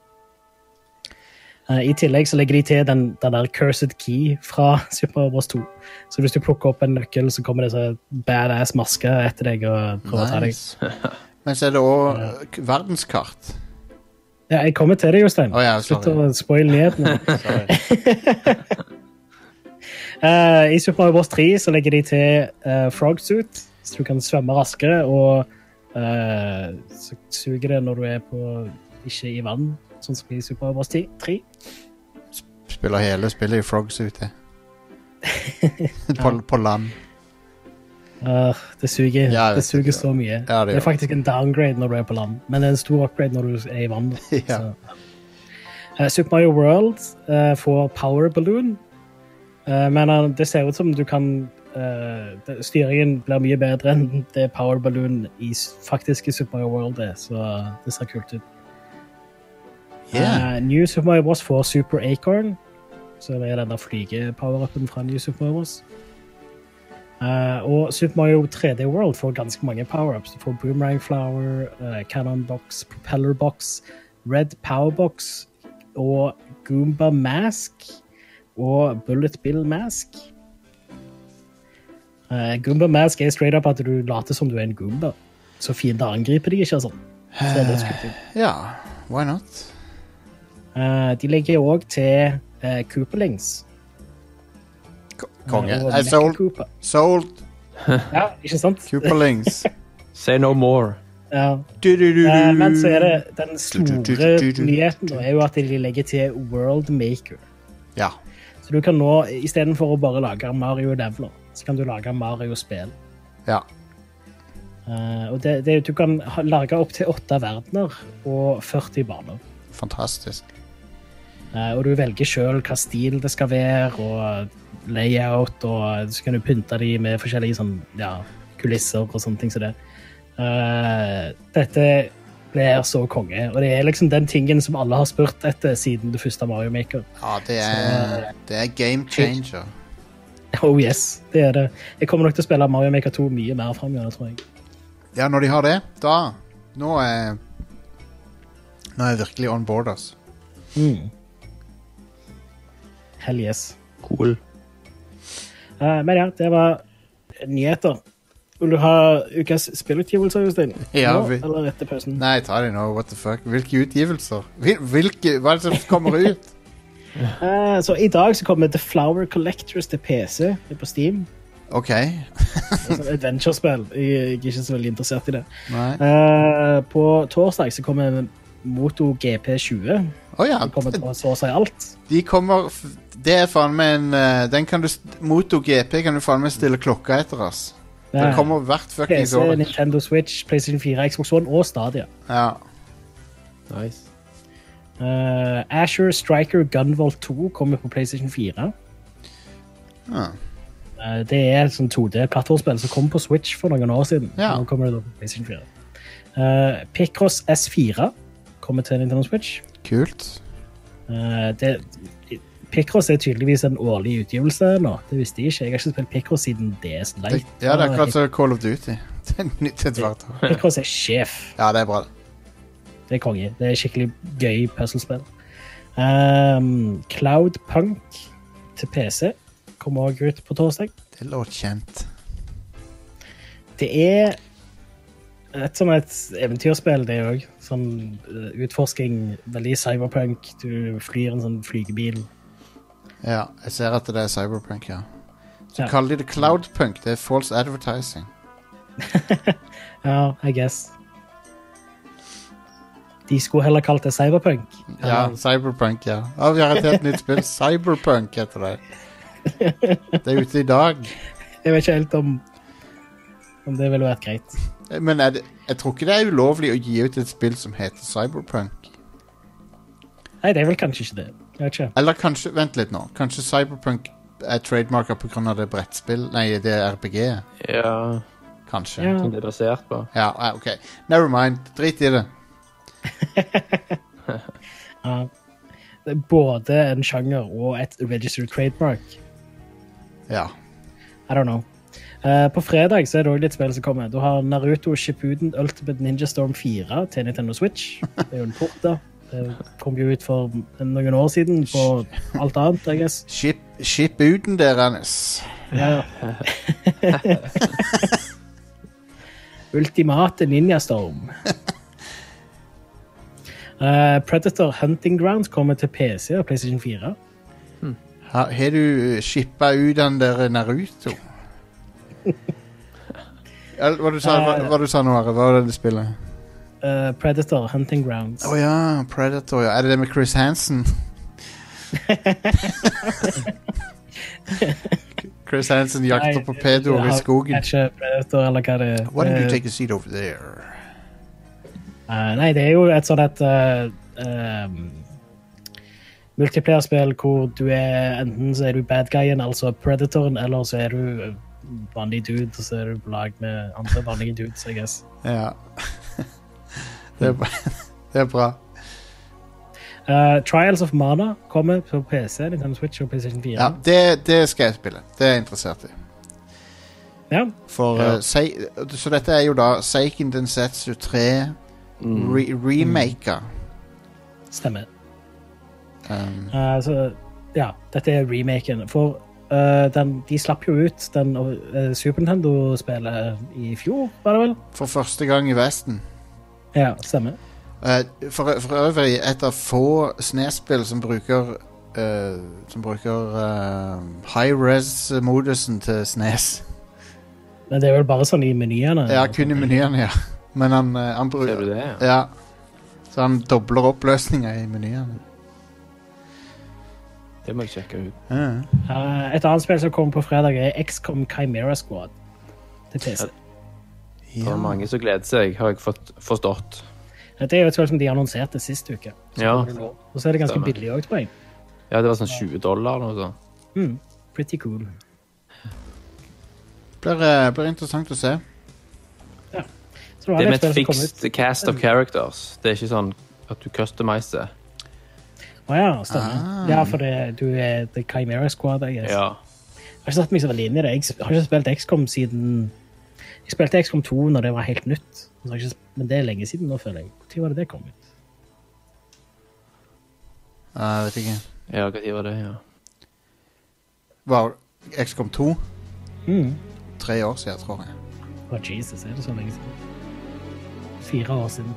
B: Eh, I tillegg så legger de til den, den der cursed key fra *laughs* Super Mario Bros 2. Så hvis du plukker opp en nøkkel, så kommer det så badass masker etter deg og prøver å ta deg.
A: Nice. Men så er det òg verdenskart.
B: Ja, jeg kommer til det, Jostein.
A: Å ja,
B: Slutt
A: sorry.
B: å spoile
A: *laughs*
B: nyhetene.
A: Sorry.
B: Eh, I Super Mario Bros. 3 så legger de til uh, frogsuit, så du kan svømme raskere, og eh, så suger det når du er på ikke i vann, sånn som i Super Mario Bros. 10 3.
A: Spiller hele spillet i frogs
B: *laughs*
A: ute. på, på land.
B: Eh, det suger,
A: Ja, jeg
B: det
A: vet
B: suger
A: det.
B: så mye.
A: Ja, det
B: det er
A: gjør
B: faktisk en downgrade når du er på land, men det er en stor upgrade når du er i vann. da.
A: *laughs* Ja.
B: Så, ja. Eh, Super Mario World eh, får power balloon, eh, men eh, det ser ut som du kan eh, det- Styringen blir mye bedre enn det power balloon i s- faktiske Super Mario World er, så eh, det ser kult ut.
A: Yeah.
B: Eh, New Super Mario Bros. får Super Acorn, som er den der flygepower-upen fra New Super Mario Bros. Eh, og Super Mario 3D World får ganske mange power-ups. Du får Boomerang Flower, eh, Cannon Box, Propeller Box, Red Power Box og Goomba Mask og Bullet Bill Mask. Eh, Goomba Mask er straight up at du later som du er en Goomba, så fiender angriper deg ikke og sånn. Så det er litt skummelt.
A: Ja, why not?
B: Eh, de legger òg til uh, Cooperlings.
A: Ko- Konge.
B: Og
A: Jeg
B: Mecha
A: sold,
B: Cooper.
A: sold
B: Ja, ikke sant? *laughs*
A: Cooperlings.
C: *laughs* Say no more.
B: Ja.
A: Du-du-du-du.
B: Eh, men så er det den store
A: Du-du-du-du-du-du.
B: nyheten nå er jo at de legger til World Maker.
A: Ja.
B: Så du kan nå, istedenfor å bare lage Mario Leveler, så kan du lage Mario-spill.
A: ja.
B: Eh, og det, det, du kan ha, lage opptil åtte verdener og 40 baner.
A: Fantastisk.
B: Eh, og du velger sjøl hva stil det skal være, og layout, og så kan du pynte de med forskjellige sånn, ja, kulisser og sånne ting som det. Eh, dette blir så konge, og det er liksom den tingen som alle har spurt etter siden det første Mario Maker. *laughs*
A: Ja, det er, det er game changer.
B: Oh yes, det er det. Jeg kommer nok til å spille Mario Maker 2 mye mer framover, tror jeg.
A: Ja, når de har det, da Nå er Nå er jeg virkelig on board, ass. Mm.
B: Hell yes.
C: Cool.
B: Eh, men ja, det var nyheter. Vil du ha ukas spillutgivelser, Jostein?
A: Ja,
B: Nå,
A: vi-
B: Eller etter pausen?
A: Nei, ta det nå. What the fuck? Hvilke utgivelser? Hvil- Hvilke, hva er det som kommer ut?
B: Eh, så I dag så kommer The Flower Collectors til PC det er på Steam.
A: *laughs* OK.
B: Det er sånn Adventure-spill. Jeg jeg er ikke så veldig interessert i det.
A: Nei.
B: Eh, på torsdag så kommer Moto GP20.
A: Å ja.
B: Det kommer på så å si alt.
A: De kommer f- Det er faen meg en eh, Den kan du st- MotoGP kan du faen meg stille klokka etter, ass. Den
B: Ja.
A: kommer hvert fuckings
B: PC,
A: år.
B: Eh, Nintendo Switch, PlayStation 4, Xbox One og Stadia.
A: Ja.
C: Nice.
B: Uh, Asher Striker Gunvolt 2 kommer på PlayStation 4.
A: Ah.
B: Eh, Det er et sånn 2D-plattformspill som kom på Switch for noen år siden.
A: Ja.
B: Nå kommer det da på PlayStation 4. Eh, Picross S4 kommer til Nintendo Switch.
A: Kult.
B: Eh, det, Picross er tydeligvis en årlig utgivelse nå. Det visste jeg ikke. Jeg har ikke spilt Picross siden DS
A: Det,
B: Light.
A: ja, det er akkurat som Call of Duty. *laughs* Det er nytt til hvert år.
B: Picross er sjef.
A: Ja, det er bra.
B: Det er konge. Det er skikkelig gøy puzzlespill. Um, Cloud Punk til PC kommer også ut på torsdag.
A: Det låt kjent.
B: Det er et sånn et eventyrspill, det òg. Sånn eh, utforsking, veldig cyberpunk. Du flyr en sånn flygebil.
A: Ja, jeg ser at det er cyberpunk, ja. Så
B: Ja.
A: kaller de det cloudpunk. Det er false advertising.
B: Ja, I guess. De skulle heller kalt det cyberpunk.
A: Ja,
B: Eller-
A: cyberpunk, ja. Å, vi har et helt nytt
B: *laughs*
A: spill. Cyberpunk heter det. Det er ute i dag.
B: Jeg vet ikke helt om, om det ville vært greit.
A: Men er det, jeg tror ikke det er ulovlig å gi ut et spill som heter Cyberpunk.
B: Nei, det er vel kanskje ikke det. Jeg vet ikke.
A: Eller kanskje Vent litt nå. Kanskje Cyberpunk er trademarka pga. det brettspill Nei, det er RPG.
C: Ja,
A: Kanskje.
B: Ja.
C: som det er basert på.
A: Ja, eh, ok. Never mind. Drit i det.
B: Ja. Det er både en sjanger og et registered trademark.
A: Ja.
B: I don't know. Eh, på fredag så er det òg litt spill som kommer. Du har Naruto Shippuden Ultimate Ninja Storm 4 til Nintendo Switch. Det er jo en port, da. Det kom jo ut for noen år siden på alt annet, I guess.
A: Skip, skip uten deres.
B: Ja. *laughs* Ultimate Ninja *laughs* Storm. Eh, Predator Hunting Grounds kommer til PC og PlayStation 4.
A: Ha- Har du shippa ut den der *laughs* Naruto? Eller, Hva du sa hva, hva du sa nå, Are? Hva var det det spillet?
B: Eh, Predator Hunting Grounds.
A: Å ja, Predator. Ja. Er det det med Chris Hansen? *laughs* Chris Hansen jakter
B: Nei,
A: på pedoer
B: det
A: i
B: har-
A: skogen.
B: Catcher, Predator, eller hva det
A: Why don't you
B: Eh,
A: take a seat over there?
B: Eh, nei, det er jo et sånt et uh, multiplierspill hvor du er enten så er du bad guyen, altså predatoren, eller så er du eh, vanlig dude, og så er du på lag med andre vanlige dudes, I guess.
A: Ja. *laughs* det, er, bra- *laughs* det er bra.
B: Eh, Trials of Mana kommer på PC, Nintendo Switch og PlayStation 4.
A: Ja, det, det skal jeg spille. Det er jeg interessert i.
B: Ja.
A: For,
C: Ja.
A: eh, Sei- så dette er jo da Seiken Densetsu 3
C: Mm.
A: re remaker.
B: stemmer.
A: Um,
B: Eh, så ja, dette er remaken. For eh, den, de slapp jo ut den eh, Super Nintendo-spillet i fjor, var det vel?
A: for første gang i Vesten.
B: Ja, stemmer.
A: Eh, for, for øvrig et av få snespill som bruker eh, Som bruker eh, high res-modusen til Snes.
B: Men det er vel bare sånn i menyene.
A: Ja, kun i menyen, ja. Men han, eh, han
C: Ser du
A: bruker
C: det? Ja.
A: Ja. Så han dobler oppløsninga i menyen.
C: Det må jeg sjekke ut.
A: Ja.
B: Eh, Et annet spill som kommer på fredag, er XCOM Chimera Squad. Til PC.
C: Det er mange som gleder seg, har jeg fått forstått.
B: Dette er jo et spill som de annonserte sist uke.
C: Ja.
B: Og så er det ganske
C: Stemmer.
B: billig òg, tror jeg.
C: ja, det var sånn 20 dollar eller noe sånt.
B: Mm, pretty cool.
A: Blir, eh, blir interessant å se.
B: Så er
C: Det er med
B: spill
C: et
B: som kom ut.
C: fixed cast of characters. Det er ikke sånn at du customizer.
B: Å ja, stemmer.
A: Ah.
B: Ja, for det, du er The Chimera Squad, I guess.
C: Ja.
B: Jeg har ikke satt meg så veldig inn i det. Jeg sp- har ikke spilt XCOM siden Jeg spilte XCOM 2 når det var helt nytt. Så har jeg ikke sp- Men det er lenge siden nå, føler jeg. Når var det det kom ut?
A: Jeg vet ikke.
C: Ja, hva tid var det? Ja.
A: Wow. XCOM 2.
B: Mm.
A: Tre år siden, tror jeg.
B: Å, Jesus, er det så lenge siden? Fire år siden.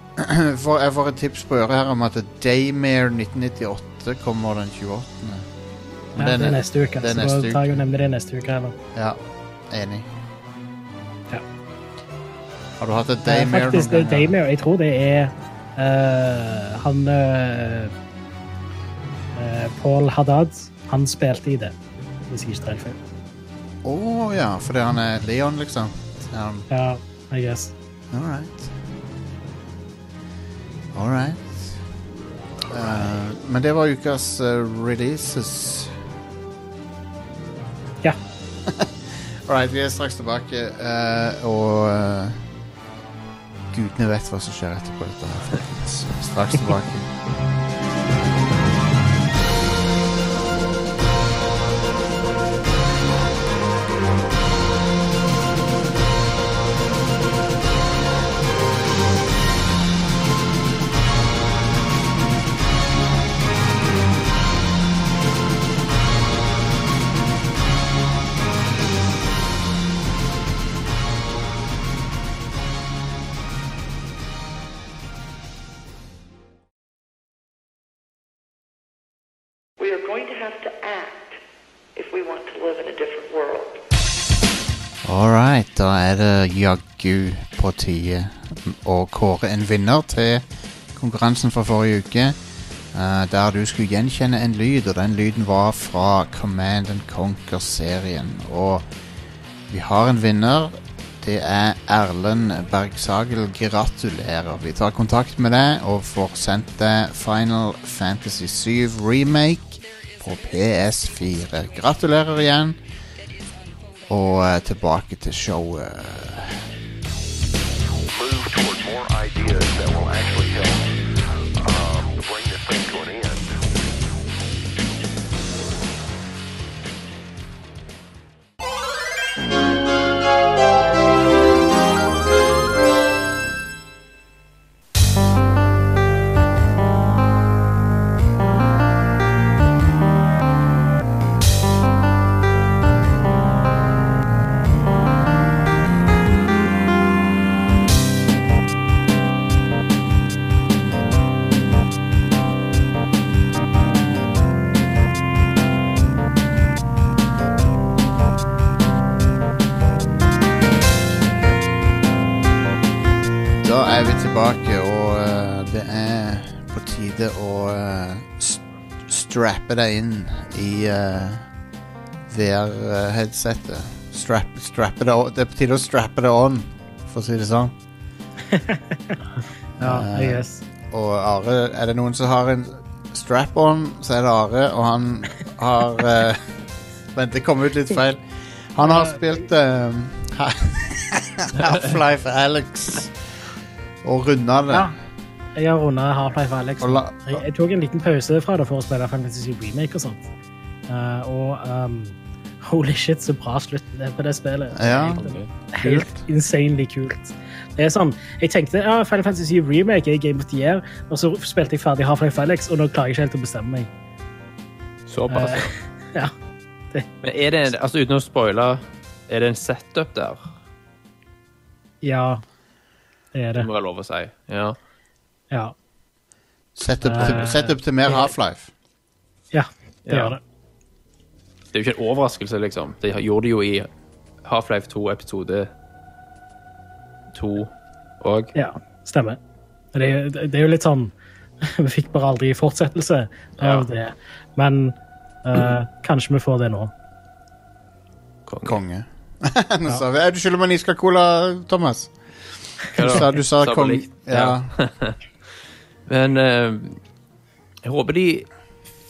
A: For, jeg får et tips på øret her om at Daymare 1998 kommer den 28. Men
B: Ja, det
A: den
B: er
A: er-
B: neste uke.
A: det er
B: så
A: neste
B: da tar jeg og nevner det neste uke. Eller?
A: Ja, enig.
B: Ja.
A: Har du hatt et
B: Eh,
A: Daymare
B: Faktisk, det er
A: noen gang?
B: Daymare. Jeg tror det er eh, han eh, eh, Paul Haddad. Han spilte i det, hvis jeg ikke tar helt feil.
A: Å ja, fordi han er Leon, liksom. Um,
B: Ja, I guess.
A: all right. All right. Eh, men det var ukas eh, releases.
B: Ja.
A: All right, vi er straks tilbake, eh, og eh, gudene vet hva som skjer etterpå dette her, folkens. Straks tilbake. All right, da er det jaggu på tide å kåre en vinner til konkurransen fra forrige uke. eh, der du skulle gjenkjenne en lyd, og den lyden var fra Command and Conquer-serien. Og vi har en vinner. Det er Erlend Bergsagel. Gratulerer. Vi tar kontakt med deg og får sendt deg Final Fantasy 7 Remake på PS4. Gratulerer igjen og eh, tilbake til showet.
D: move toward more ideas that will actually help um, bring this thing to an end.
A: Da er vi tilbake, og eh, det er på tide å eh, st strappe deg inn i eh, VR-headsetet. Strap, strappe det, o- det er på tide å strappe det on, for å si det sånn.
B: Ja,
A: Eh,
B: I guess.
A: Og Are, er det noen som har en strap-on, så er det Are, og han har eh, Vent, det kom ut litt feil. Han har spilt eh, *laughs* Half-Life Alex og runda det.
B: Ja. Jeg har runda Half-Life Alex.
A: Og la,
B: Jeg, jeg tok en liten pause fra det for å spille Final Fantasy Remake og sånt. Eh, og um, holy shit, så bra slutt det er på det spillet.
A: Ja.
C: Konge.
B: Helt *laughs* insanely kult. Det er sånn, Jeg tenkte ja, Final Fantasy Remake er Game of the Year, og så spilte jeg ferdig Half-Life Alex, og nå klarer jeg ikke helt å bestemme meg.
C: Såpass.
B: Eh, *laughs* ja.
C: Men er det en, altså uten å spoile, er det en setup der?
B: Ja, det er det.
C: Det må være lov å si. Ja.
B: Ja,
A: Sett opp til, sett opp til mer Half-Life.
B: ja det
C: Ja.
B: gjør det.
C: Det er jo ikke en overraskelse, liksom. De gjorde det jo i Half-Life 2 episode 2 og
B: Ja, stemmer. Det, er- det er jo litt sånn *laughs* Vi fikk bare aldri fortsettelse av
C: Ja.
B: det. Men eh, kanskje vi får det nå.
C: Konge.
A: Konge. *laughs* Nå sa vi «Ei, Du skylder meg en iskald cola, Thomas.
C: Hva
A: Du
C: da?
A: sa, du sa
C: Sa på
A: kong...
C: likt.
A: Ja.
C: Men eh, jeg håper de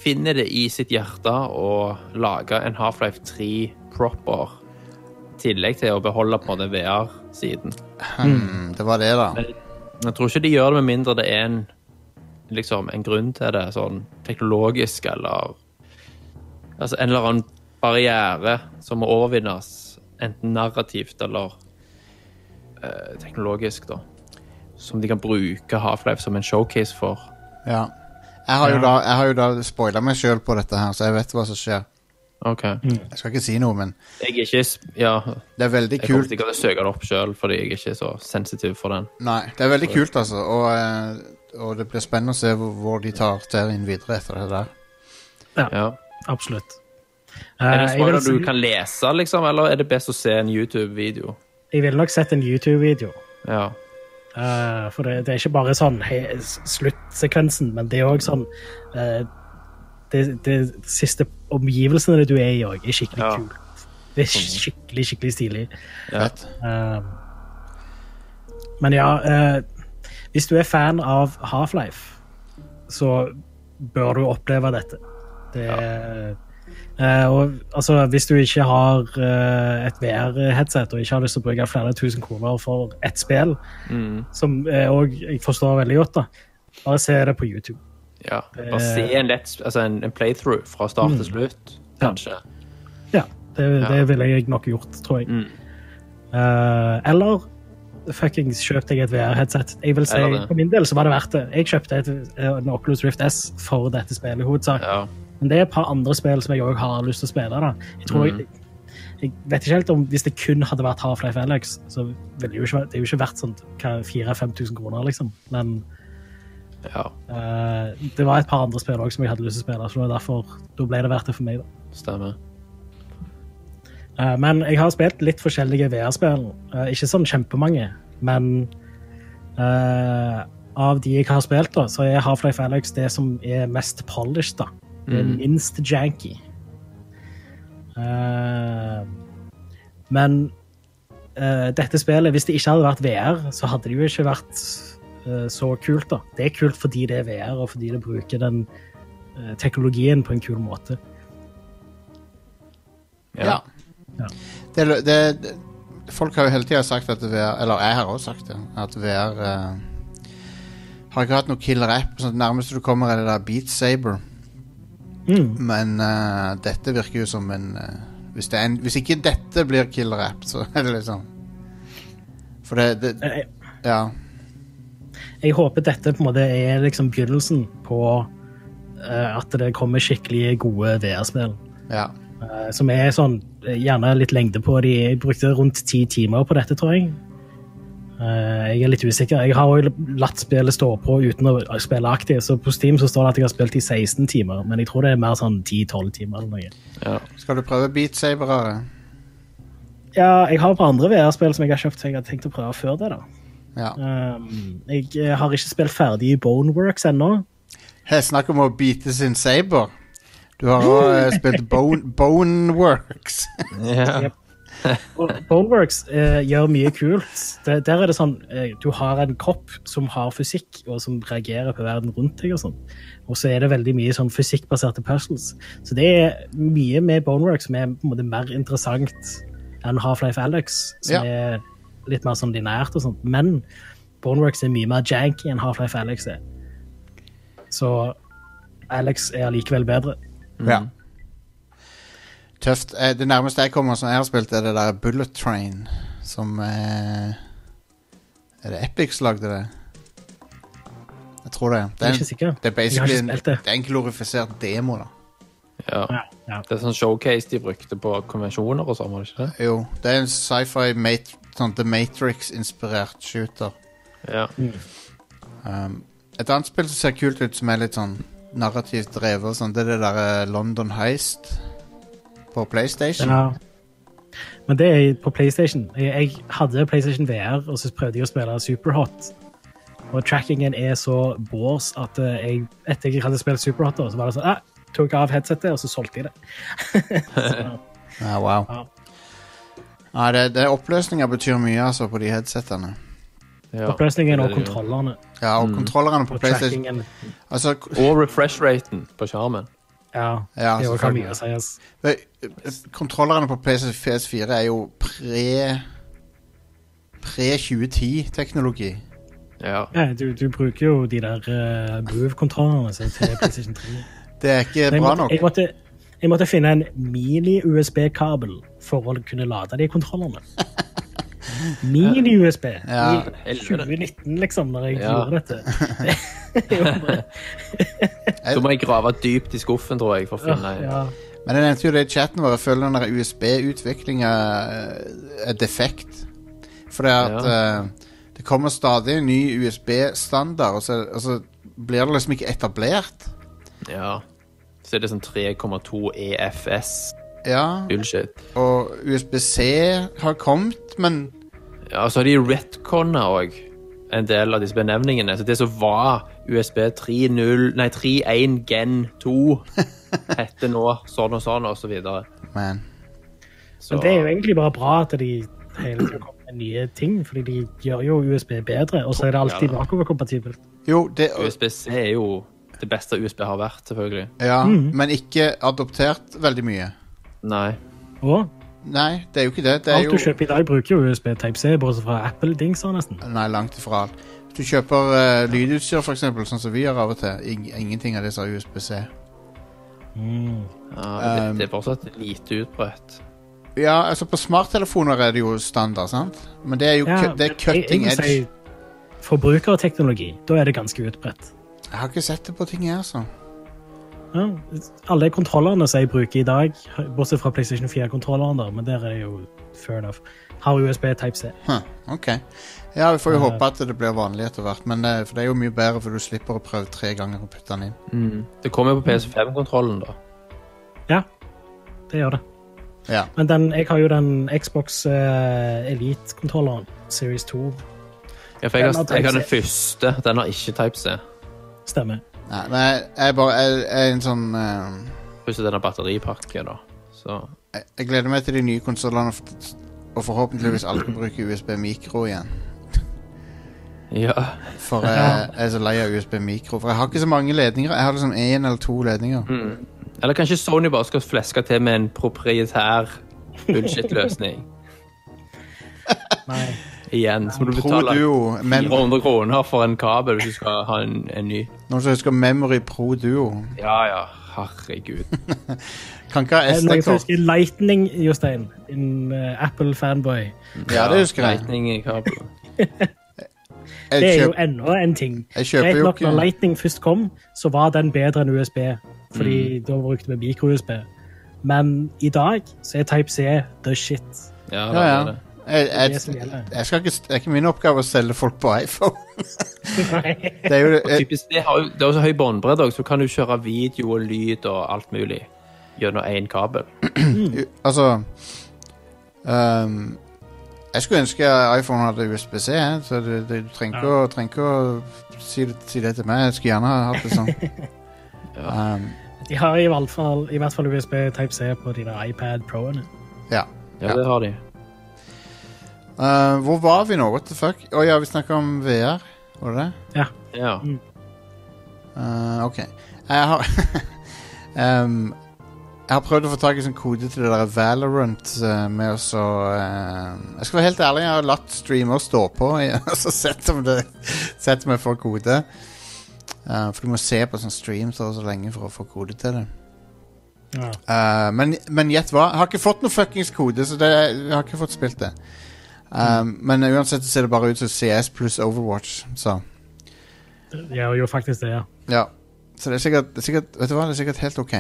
C: finner det i sitt hjerte å lage en Half-Life 3 proper. I tillegg til å beholde på en måte VR-siden.
A: Hmm, det var det, da.
C: Jeg tror ikke de gjør det med mindre det er en, liksom, en grunn til det, sånn teknologisk eller Altså en eller annen barriere som må overvinnes, enten narrativt eller eh, teknologisk, da. Som de kan bruke Half-Life som en showcase for.
A: Ja. Jeg har jo da, jeg har jo da spoila meg sjøl på dette, her, så jeg vet hva som skjer.
C: Ok.
B: Mm.
A: Jeg skal ikke si noe, men
C: Jeg er ikke s- Ja,
A: det er veldig
C: jeg kommer
A: kult.
C: sikkert til å søke det opp sjøl, fordi jeg er ikke så sensitiv for den.
A: Nei, det er veldig kult, altså. Og, eh, og det blir spennende å se hvor, hvor de tar serien videre etter det der.
C: Ja.
B: Absolutt.
C: Er det
B: Eh, jeg,
C: spoiler
B: vil,
C: du
B: si-
C: kan lese, liksom, eller er det best å se en YouTube-video?
B: jeg ville nok sett en YouTube-video.
C: Ja.
B: Eh, for det, det er ikke bare sånn he, s- sluttsekvensen, men det er òg sånn eh, det, det siste omgivelsene du er i òg, er skikkelig
C: Ja.
B: kult. Det er skikkelig, skikkelig stilig.
C: Ja.
A: Fett.
B: Eh, men ja, eh, hvis du er fan av Half-Life, så bør du oppleve dette. Det Eh, og altså, hvis du ikke har eh, et VR-headset og ikke har lyst til å bruke flere tusen kroner for ett spill, som eh, og jeg forstår veldig godt, da, bare se det på YouTube.
C: Ja, bare se en, let's, altså en, en playthrough fra start til slutt, kanskje.
B: Ja, det, det
C: Ja.
B: ville jeg nok gjort, tror jeg. Eh, eller fuckings kjøp deg et VR-headset. Jeg vil si,
C: Eller det.
B: For min del så var det verdt det. Jeg kjøpte et, eh, en Oculus Rift S for dette spillet. i hovedsak.
C: Ja.
B: Men det er et par andre spill som jeg òg har lyst til å spille. da. Jeg tror
C: Mm.
B: jeg, jeg vet ikke helt om Hvis det kun hadde vært Half-Life Alex, så ville det jo ikke, vært- det er jo ikke verdt sånn 4000-5000 kroner, liksom. Men
C: ja,
B: eh, det var et par andre spill òg som jeg hadde lyst til å spille, så det var derfor, da ble det verdt det for meg. da.
C: stemmer.
B: Eh, Men jeg har spilt litt forskjellige VR-spill. Eh, Ikke sånn kjempemange, men eh, av de jeg har spilt, da, så er Half-Life Alyx det som er mest polished. da. Det er minst janky. Eh, men eh, dette spillet, hvis det ikke hadde vært VR, så hadde det jo ikke vært eh, så kult. da. Det er kult fordi det er VR, og fordi det bruker den eh, teknologien på en kul måte.
A: Ja. Det, lø- det, det, folk har jo hele tida sagt at VR Eller jeg har også sagt det. At VR eh, har ikke hatt noe killer app. Sånn, at det nærmeste du kommer, er det der Beat Saber.
B: Mm.
A: Men eh, dette virker jo som en, eh, hvis, det er en Hvis ikke dette blir killer app, så er det liksom For det, det
B: Eh,
A: Ja.
B: jeg håper dette på en måte er liksom begynnelsen på eh, at det kommer skikkelig gode VR-spill.
A: ja.
B: eh, som er sånn eh, gjerne litt lengde på de. Jeg brukte rundt ti timer på dette, tror jeg. Eh, jeg er litt usikker. Jeg har jo latt spillet stå på uten å spille aktivt, så på Steam så står det at jeg har spilt i 16 timer, men jeg tror det er mer sånn 10-12 timer eller noe.
C: Ja.
A: Skal du prøve Beat Saber? Are?
B: Ja, jeg har et par andre VR-spill som jeg har kjøpt, som jeg har tenkt å prøve før det, da.
A: Ja.
B: Um, jeg eh, har ikke spilt ferdig Boneworks ennå.
A: Her snakk om å bite sin saber. Du har òg spilt bone,
B: *laughs*
A: Boneworks.
C: Ja.
B: Og Boneworks eh, gjør mye kult. Det, der er det sånn eh, Du har en kropp som har fysikk, og som reagerer på verden rundt deg. Og sånn. Og så er det veldig mye sånn fysikkbaserte puzzles. Så det er mye med Boneworks som er på en måte mer interessant enn Half-Life Alex, som
A: Ja.
B: er litt mer sånn linært og sånt. Men Boneworks er mye mer janky enn Half-Life Alex er. Så Alex er allikevel bedre.
A: Ja. Tøft. Eh, Det nærmeste jeg kommer som jeg har spilt, er det der Bullet Train, som eh, Er det Epix lagde det? Jeg tror det. Det
B: Jeg
A: er,
B: er ikke
A: en,
B: sikker.
A: det er
B: Jeg har
A: basically
B: ikke
A: en,
B: spilt
A: det
B: det.
A: er en glorifisert demo, da.
C: Ja.
B: Ja, ja.
C: Det er sånn showcase de brukte på konvensjoner og sånn, var det ikke det?
A: Jo, det er en sci-fi mat, sånn The Matrix-inspirert shooter.
C: Ja.
A: Um, et annet spill som ser kult ut, som er litt sånn narrativt drevet, og sånn, det er det derre London Heist på PlayStation.
B: Ja. Men det er på PlayStation. Jeg, jeg hadde PlayStation VR, og så prøvde jeg å spille Superhot. Og trackingen er så bås at eh, jeg, etter jeg hadde spilt Superhot, da, så var det sånn ah, Tok av headsetet, og så solgte jeg det.
A: Ja, wow.
B: Ja.
A: Ja, det, det Oppløsninger betyr mye altså på de headsetene.
C: ja.
B: Oppløsningen
C: Det er
B: og
C: det jo.
B: kontrollene
A: Ja, og kontrollerne på
B: og
A: PlayStation
B: trackingen
A: altså, k-
C: Og refresh-raten på skjermen.
B: Ja,
A: Ja,
B: det var
A: selvfølgelig.
B: mye å si. ass.
A: eh, eh, Kontrollerne på PS4 er jo pre Pre-2010-teknologi.
C: Ja.
B: Nei, Du, du bruker jo de der eh, move-kontrollene så
A: *laughs*
B: til PlayStation 3.
A: Det er ikke
B: Men jeg
A: bra
B: måtte,
A: nok.
B: jeg måtte, jeg måtte finne en mini-USB-kabel for å kunne lade de
A: *laughs*
B: kontrollene. Mini-USB
A: Ja.
B: i 2019, liksom, når jeg
C: Ja.
B: gjorde
A: *laughs*
B: dette. Det var bare-
C: Da må jeg grave dypt i skuffen, tror jeg, for å finne
B: ja.
A: Men jeg nevnte jo det i chatten vår. Jeg føler den der USB-utviklinga eh, er defekt. For det at eh, det kommer stadig en ny USB-standard, og, så- og så blir det liksom ikke etablert.
C: Ja. Så er det sånn 3,2 EFS.
A: Ja,
C: Bullshit.
A: og USB-C har kommet, men
C: Ja, så har de retconna òg en del av disse benevningene. Så det som var USB 3.0 Nei, 3.1 Gen 2 heter nå sånn og sånn, og så videre.
A: Man.
C: Så
B: Men det er jo egentlig bare bra at de hele tiden kommer med nye ting, fordi de gjør jo USB bedre, og så er det alltid
C: Ja, da.
B: bakoverkompatibelt.
A: Jo, det
C: USB-C er jo det beste USB har vært, selvfølgelig.
A: Ja,
B: Mhm.
A: men ikke adoptert veldig mye.
C: Nei.
B: Og
A: Nei, det er jo ikke det. Det er
B: alt du
A: jo
B: kjøper i dag, bruker jo USB Type-C, bortsett fra Apple-dingser, nesten.
A: Nei, langt ifra alt. Hvis du kjøper eh, lydutstyr, for eksempel, sånn som vi gjør av og til, ing ingenting av det som har USB-C.
C: Ja, det, det er fortsatt lite utbredt.
A: Ja, altså på smarttelefoner er det jo standard, sant? Men det er jo
B: Ja,
A: cu- det er
B: men
A: cutting
B: jeg- jeg vil si
A: edge.
B: Forbrukerteknologi, da er det ganske utbredt.
A: Jeg har ikke sett det på ting her, altså.
B: Ja, alle kontrollerne som jeg bruker i dag, bortsett fra PlayStation 4-kontrolleren, der, men der er det jo fair enough, har USB Type-C.
A: Huh, ok. Ja, vi får jo håpe at det blir vanlig etter hvert, men eh, for det er jo mye bedre, for du slipper å prøve tre ganger å putte den inn.
C: Det kommer jo på PS5-kontrollen, da.
B: Ja, det gjør det.
A: Ja.
B: Men den, jeg har jo den Xbox eh, Elite-kontrolleren, Series 2,
C: Ja, for jeg
B: Den har
C: har, jeg har den
B: Type-C.
C: første. Den har ikke Type-C.
B: stemmer.
A: Nei, men jeg, jeg bare jeg, jeg er en sånn eh,
C: Plutselig den har batteripakke, da. Så
A: jeg, jeg gleder meg til de nye konsollene, og forhåpentligvis alle
B: *clears throat*
A: skal bruke USB mikro igjen.
C: ja.
A: For jeg, jeg er så lei av USB mikro. For jeg har ikke så mange ledninger. Jeg har liksom én eller to ledninger.
C: Eller kanskje Sony bare skal fleske til med en proprietær *laughs* bullshit-løsning.
B: Nei.
C: Igjen. Så må du
A: Pro
C: betale
A: Duo. Mem
C: 400 kroner for en kabel hvis du skal ha en, en ny.
A: noen som husker Memory Pro Duo?
C: Ja, ja. Herregud.
A: Kan ikke ha
B: Er det Noen som
A: SD-kort.
B: husker Lightning, Jostein? En eh, Apple-fanboy.
A: Ja, det husker jeg.
C: Lightning i kabelen.
B: Det
A: Jeg
B: er jo
A: kjøper,
B: enda en ting.
A: jeg kjøper
B: Rett
A: jo
B: nok, når
A: ikke
B: Lightning først kom, så var den bedre enn USB, fordi
A: Mm.
B: da brukte vi mikro-USB. Men i dag så er Type-C the shit.
C: Ja,
A: Ja, ja.
C: det er det.
A: Jeg,
B: Det er det som
A: jeg,
B: gjelder.
A: jeg skal ikke, det er ikke min oppgave å selge folk på iPhone. *laughs*
B: Nei.
A: Det er
B: *laughs*
A: jo jeg,
C: Typisk, det, har, jo- det er jo så høy båndbredde òg, så kan du kjøre video og lyd og alt mulig gjennom én kabel.
A: Altså ehm, Jeg skulle ønske iPhone hadde USB-C, jeg, så du, du trenger ikke å, trenger ikke å si, det- si det til meg. Jeg skulle gjerne ha hatt det
B: *laughs*
A: sånn.
C: Ja.
A: Ehm,
B: De har i hvert fall, i hvert fall USB Type-C på de der iPad Pro-ene.
A: ja.
C: Ja, det har de.
A: Eh, hvor var vi nå? What the fuck? Å ja, vi snakka om VR, var det det?
C: Ja.
A: Eh, OK. Jeg har *laughs* Ehm, Jeg har prøvd å få tak i sånn kode til det der Valorant eh, med å så eh, Jeg skal være helt ærlig, jeg har latt streamer stå på *laughs* og så sett om, det, sett om jeg får kode. Eh, for du må se på sånn stream så, og så lenge for å få kode til det.
B: Ja.
A: Eh, men men gjett hva? Jeg har ikke fått noe fuckings kode, så det, jeg har ikke fått spilt det. Eh, Men uansett så ser det bare ut som CS pluss Overwatch, så
B: Ja, jo, faktisk det, ja.
A: ja. Så det er sikkert, det er sikkert Vet du hva, det er sikkert helt OK.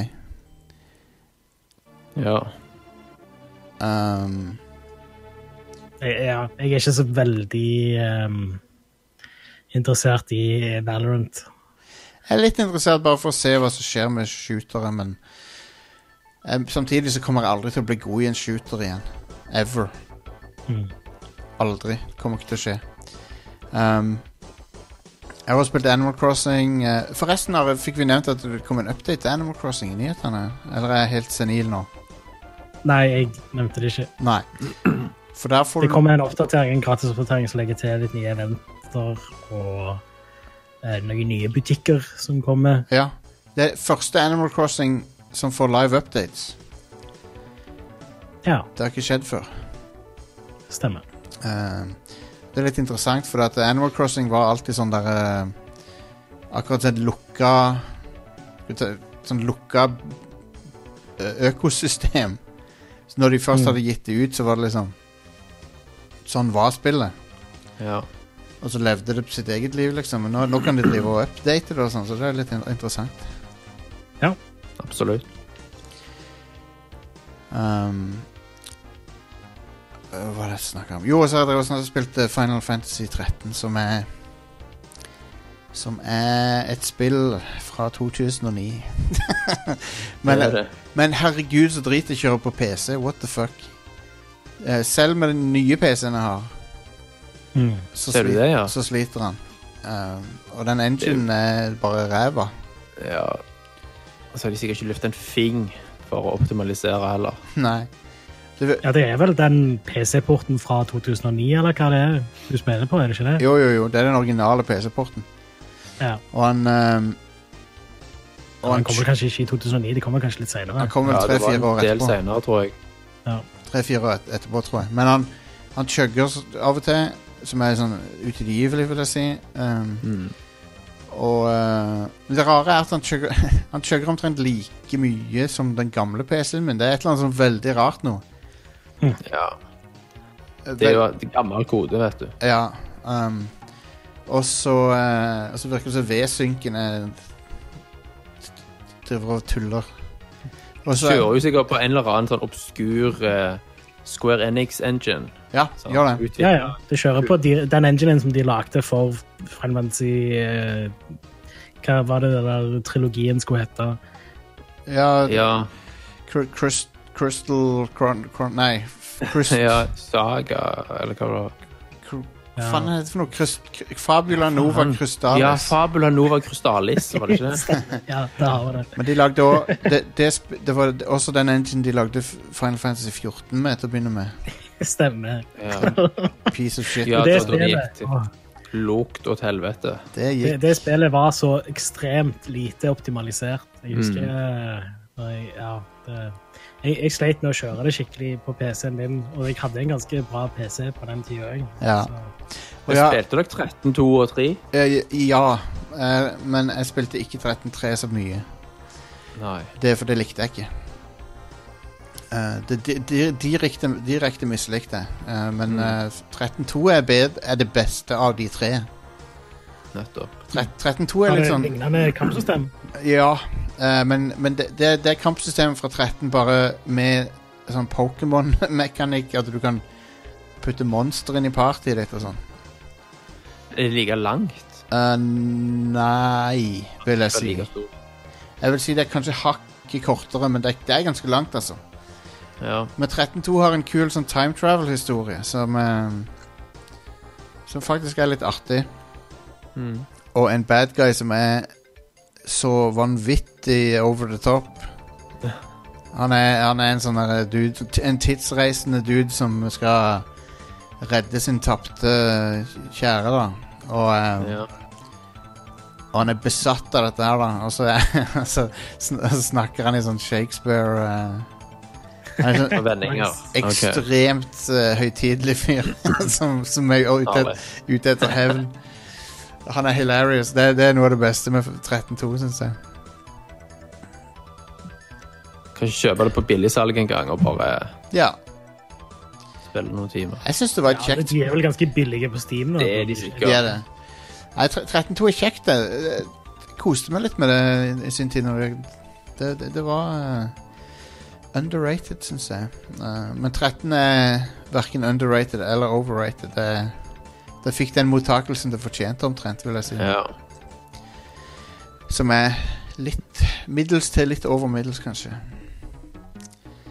C: ja.
A: Um,
B: Jeg, ja. jeg er ikke så veldig ehm, interessert i Valorant.
A: jeg er litt interessert bare for å se hva som skjer med shootere, men em, samtidig så kommer jeg aldri til å bli god i en shooter igjen. Ever.
B: Mm.
A: Aldri. Kommer ikke til å skje. Um, jeg har spilt Animal Crossing eh, Forresten Are, fikk vi nevnt at det kom en update til Animal Crossing i nyhetene? Eller er jeg helt senil nå?
B: Nei, jeg nevnte det ikke. *clears throat*
A: Nei. For der får
B: Det
A: du
B: kommer en oppdatering, en gratis oppdatering som legger til litt nye eventer og eh, noen nye butikker som kommer.
A: Ja. Det er første Animal Crossing som får live updates.
B: Ja,
A: Det har ikke skjedd før.
B: stemmer.
A: Eh, det er litt interessant, for at Animal Crossing var alltid sånn der eh, Akkurat sånn lukka skal vi ta- Sånn lukka eh, økosystem. Så når de først
B: Mm.
A: hadde gitt det ut, så var det liksom Sånn var spillet.
C: ja.
A: Og så levde det sitt eget liv, liksom. Men nå, nå kan de drive og update det, og sånn, så det er litt in interessant.
C: Absolutt.
A: Um, eh, hva er det jeg snakker om? Jo, og så har jeg drevet og snakket- spilt eh, Final Fantasy 13, som er Som er et spill fra 2009. *laughs* men,
C: det er det.
A: men herregud, så drit det kjører på PC. What the fuck? Eh, selv med den nye PC-en jeg har,
B: Mm.
A: så,
C: Ser du
A: sli-
C: det, ja?
A: så sliter han. Um, og den enginen er bare ræva. *laughs*
C: Ja. Og så har de sikkert ikke løftet en fing for å optimalisere heller.
A: Nei. Det,
B: Ja, det er vel den PC-porten fra 2009, eller hva det er du spiller på, er det ikke det?
A: jo, jo, jo. Det er den originale PC-porten.
B: Ja.
A: Og han um,
B: Og den kommer kanskje ikke i 2009, det kommer kanskje litt senere.
A: Han kom vel
C: Ja, det var
A: tre-fire
C: en
A: år
C: del
A: etterpå.
C: senere, tror jeg.
A: Tre-fire år et etterpå, tror jeg. Men han, han chugger s- av og til, som er sånn utilgivelig, vil jeg si. Um,
C: Mm.
A: og eh, men Det rare er at han chugger, *laughs* han chugger omtrent like mye som den gamle PC-en min. Det er et eller annet sånn veldig rart nå.
C: Ja.
A: Eh,
C: Det
A: vel-
C: er jo et gammel kode, vet du.
A: Ja. Um, og så eh, og så virker det som V-synken er Driver og tuller. Og så-
C: Kjører jo sikkert på en eller annen sånn obskur eh, Square Enix-engine.
A: Ja, gjør det.
B: Ja, ja. Det kjører på de, den enginen som de lagde for Final Fantasy eh, Hva var det den der trilogien skulle hete?
A: Ja,
C: Ja,
A: Cr- Crys- Crystal Chron... Chron nei, f- Crystal
C: *laughs* Ja, Saga, eller hva det var.
A: Cr- Hva faen heter det for noe? Krist, K- Fabula Nova Crystallis.
C: Ja, Fabula Nova Crystallis, var det
A: *laughs*
C: ikke det?
B: Ja, der har vi det.
A: Men de lagde òg det, det, sp- det var også den engine de lagde F- Final Fantasy 14 med til å begynne
C: *laughs*
A: med.
B: Stemmer.
C: Ja,
A: Piece of shit.
C: ja
B: det,
C: da, da gikk
B: spillet,
C: det
B: åh,
C: lukt og til helvete.
A: Det
B: det,
A: gikk
B: det spillet var så ekstremt lite optimalisert. Jeg husker eh, når jeg, ja, det, jeg, jeg sleit med å kjøre det skikkelig på PC-en min, og jeg hadde en ganske bra PC på den tida.
A: Ja. Og
C: Jeg
A: ja,
C: spilte dere 13, 2 og 3?
A: eh, ja eh, men jeg spilte ikke 13.3 så mye.
C: Nei.
A: Det er for det likte jeg ikke. Eh, det, de, de, direkte, direkte mislikte jeg. Eh, men
C: Mm.
A: eh, 13.2 er, bed- er det beste av de tre.
C: Nettopp.
A: Tre- 13.2 er litt sånn
B: lignende kampsystem.
A: Ja, eh, men, men det, det, det er kampsystemet fra 13 bare med sånn Pokémon-mekanikk. At du kan putte monster inn i partyet ditt og sånn.
C: Er det like langt?
A: Eh, nei, vil jeg
C: Er det
A: si.
C: like stort?
A: Jeg vil si det er kanskje hakket kortere, men det, er- det er ganske langt, altså.
C: Ja.
A: Men 13.2 har en kul sånn time travel-historie som eh, Som faktisk er litt artig.
C: Mm.
A: Og en bad guy som er så vanvittig over the
C: *laughs*
A: top. Han er, han er en sånn derre dude En tidsreisende dude som skal redde sin tapte kjære, da. Og, eh,
C: ja.
A: og han er besatt av dette her, da. Og så, er, *laughs* så sn snakker han i sånn Shakespeare eh. Han er sånn
C: *laughs* Og vendinger. Ok.
A: ekstremt eh, høytidelig fyr *laughs* som, som er ute,
C: Herlig.
A: ute etter hevn. Han er hilarious. Det, det er noe av det beste med 13-2, syns jeg.
C: Kan ikke kjøpe det på billigsalg en gang og bare
A: Ja,
C: spille noen timer.
A: jeg syns det var et
B: Ja,
A: kjekt.
B: de er vel ganske billige på Steam. nå.
C: Det er de sikkert.
A: Det er det. Nei, tre- 13-2 er kjekt, det. Jeg koste meg litt med det i- i sin tid. Når jeg, det, det, det var eh, underrated, syns jeg. Eh, men 13 er verken underrated eller overrated. Det, det fikk den mottakelsen det fortjente, omtrent, vil jeg si.
C: Ja.
A: Som er litt middels til litt over middels, kanskje.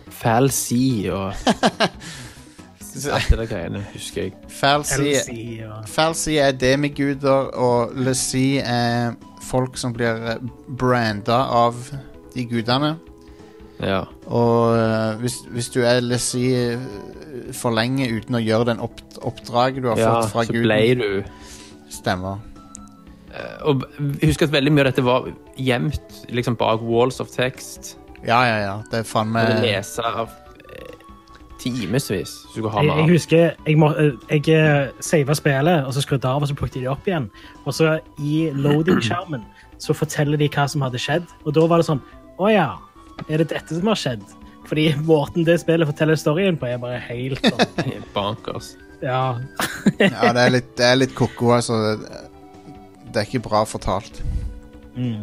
C: Fal C og *laughs* alt det der greiene, husker jeg.
A: Falsi
B: LC og
A: Falsi er demiguder, og Lessi er folk som blir branda av de gudene.
C: Ja.
A: Og eh, hvis, hvis du er Lessi eh, for lenge uten å gjøre den opp, oppdraget du har
C: ja,
A: fått fra
C: så
A: guden
C: ble du
A: Stemmer.
C: Eh, Og husk at veldig mye av dette var gjemt liksom bak walls of text.
A: Ja, ja, ja. Det er faen
C: Og det
A: meg
C: lese av eh, timevis. hvis du kan ha
B: Jeg,
C: med
B: jeg
C: av.
B: husker jeg, må, jeg eh, savet spillet, og så skrudde jeg av, og så plukket jeg det opp igjen. Og så i
C: *clears throat*
B: loading-skjermen så forteller de hva som hadde skjedd, og da var det sånn Å ja, er det dette som har skjedd? Fordi måten det spillet forteller storyen på, er bare helt
C: *laughs*
B: sånn
C: Bankers.
B: Ja.
A: Ja, det er litt, det er litt koko, altså. Det, det er ikke bra fortalt.
B: Mm.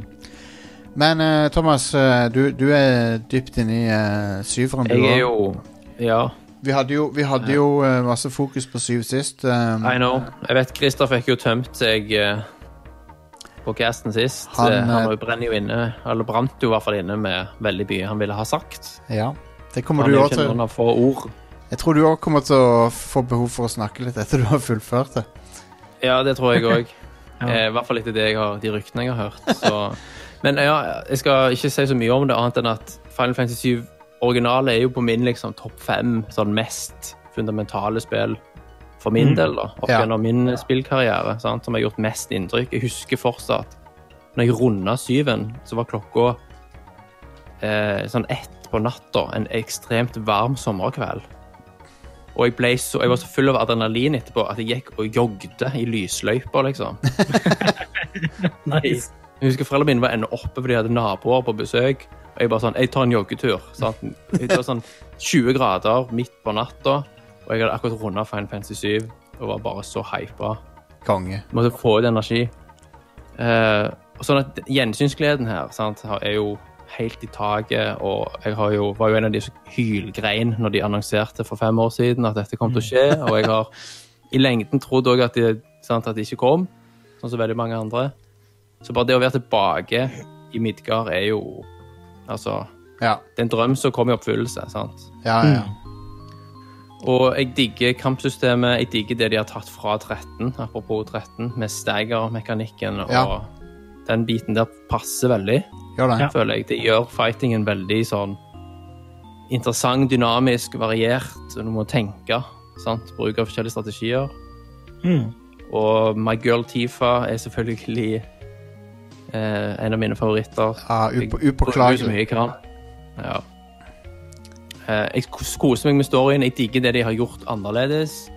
A: Men eh, Thomas, eh, du, du er dypt inne i uh, syveren, du
C: Jeg er
A: også.
C: jo Ja,
A: Vi hadde jo, vi hadde jo eh, masse fokus på syv sist. Um,
C: I know. Jeg vet Christer fikk jo tømt seg eh, på casten sist.
A: Han,
C: Han,
A: eh,
C: han var jo- brenner jo inne, eller brant jo i hvert fall inne med veldig mye han ville ha sagt.
A: Ja. Det kommer
C: Han
A: du
C: er jo
A: også
C: ikke
A: til.
C: noen av få ord.
A: Jeg tror du òg kommer til å få behov for å snakke litt etter du har fullført det.
C: Ja, det tror jeg òg.
B: Ja.
C: eh, I hvert fall etter det jeg har, de ryktene jeg har hørt. Så. Men ja, jeg skal ikke si så mye om det, annet enn at Final Fantasy 7 originale er jo på min liksom, topp fem sånn mest fundamentale spill for min del. da, Opp
A: Ja.
C: gjennom min spillkarriere, sant, som har gjort mest inntrykk. Jeg husker fortsatt når jeg runda syven, så var klokka eh, sånn ett på natta en ekstremt varm sommerkveld. Og jeg, ble så, jeg var så full av adrenalin etterpå at jeg gikk og jogde i lysløyper, liksom.
B: Nice.
C: Jeg husker foreldrene mine var ennå oppe fordi de hadde naboer på besøk. Og jeg bare sånn, jeg tar en joggetur. Sant? Det var sånn 20 grader midt på natta, og jeg hadde akkurat runda Final Fantasy 7 og var bare så hypa.
A: Konge.
C: Måtte få ut energi. Eh, og sånn at gjensynsgleden her sant, har- er jo helt i taket, og jeg har jo, var jo en av de som hylgrein når de annonserte for fem år siden at dette kom til å skje, og jeg har i lengden trodd òg at, de- sant, at det ikke kom, sånn som veldig mange andre. Så bare det å være tilbake i Midgard er jo Altså
A: Ja,
C: Det er en drøm som kommer i oppfyllelse. sant?
A: ja, ja.
B: Mm.
C: Og jeg digger kampsystemet. Jeg digger det de har tatt fra 13, apropos 13, med stagger-mekanikken og
A: Ja.
C: den biten der passer veldig,
A: Gjør det.
B: Ja.
C: føler jeg. Det gjør fightingen veldig sånn interessant, dynamisk, variert. Du må tenke, sant? Bruk av forskjellige strategier.
B: Mm.
C: Og My Girl Tifa er selvfølgelig eh, en av mine favoritter.
A: Ja,
C: Jeg
A: up-
C: bruker
A: Upåklagelig.
C: mye kram. Ja. Eh, Jeg kos- koser meg med storyen. Jeg digger det de har gjort annerledes.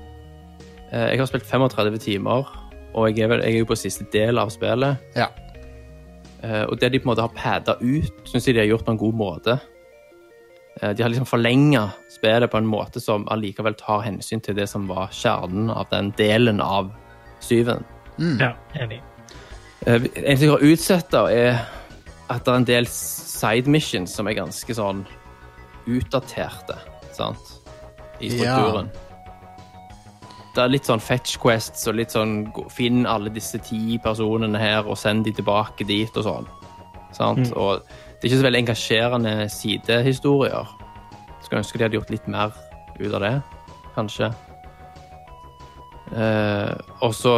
C: Eh, Jeg har spilt 35 timer, og jeg er, vel, jeg er jo på siste del av spillet.
A: Ja.
C: Eh, Og det de på en måte har padda ut, syns jeg de har gjort på en god måte. Eh, De har liksom forlenga spillet på en måte som allikevel tar hensyn til det som var kjernen av den delen av syven.
B: Ja, enig.
C: Eh, En ting jeg har utsatt, da, er at det er en del side missions som er ganske sånn utdaterte, sant, i strukturen. Det er litt sånn fetch quests og litt sånn gå- finn alle disse ti personene her og send de tilbake dit og sånn. Sant? Og det er ikke så veldig engasjerende sidehistorier. Skulle ønske de hadde gjort litt mer ut av det, kanskje. Eh, og så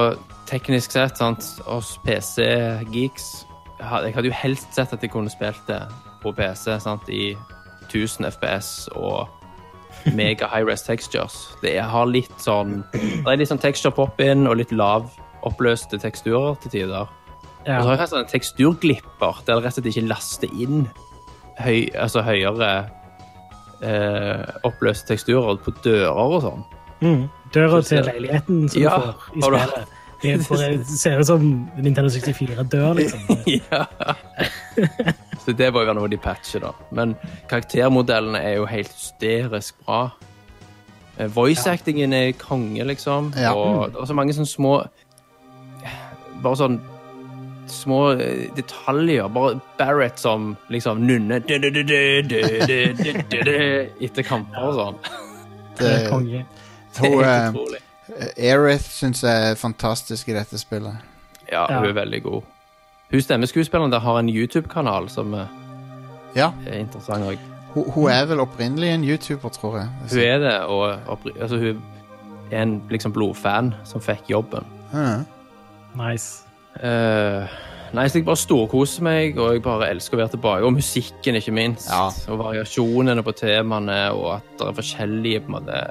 C: teknisk sett, sant, oss PC-geeks ha- Jeg hadde jo helst sett at jeg kunne spilt det på PC sant, i 1000 FPS og mega high res textures. Det er- har litt sånn Det er litt sånn texture pop-in og litt lav oppløste teksturer til tider. Og så har
B: Ja.
C: jeg hatt sånne teksturglipper der det rett og slett ikke laster inn høy, altså høyere eh, oppløste teksturer på dører og sånn.
B: Mm. Døra
C: Så ser-
B: til leiligheten som
C: Ja,
B: du får i
C: har du-
B: spillet. Det bare ser ut som Nintendo 64-dør,
C: *laughs*
B: liksom.
C: ja. Så det må jo være noe de patcher, da. Men karaktermodellene er jo helt hysterisk bra. Eh, Voice-actingen er konge, liksom.
A: Ja. Mm.
C: Og det er så mange sånne små Bare sånn små eh, detaljer. Bare Barrett som liksom nunner du, du, du, du, du, du, du, du, du, etter kamper og sånn.
B: Det
A: Det-
B: er konge.
C: Det
A: Hun,
C: er
A: eh,
C: *laughs* helt utrolig.
A: Aerith syns jeg er fantastisk i dette spillet.
C: Ja, hun er veldig god. Hun stemmeskuespilleren der har en YouTube-kanal som eh,
A: Ja,
C: er interessant òg.
A: hun, hun er vel opprinnelig en YouTuber, tror jeg.
C: Hun er det, og oppri- altså, hun er en liksom blodfan som fikk jobben.
A: Ja.
B: Nice.
C: Eh, nei, så jeg bare storkoser meg, og jeg bare elsker å være tilbake. Og musikken, ikke minst.
A: Ja.
C: Og variasjonene på temaene, og at det er forskjellige på en måte.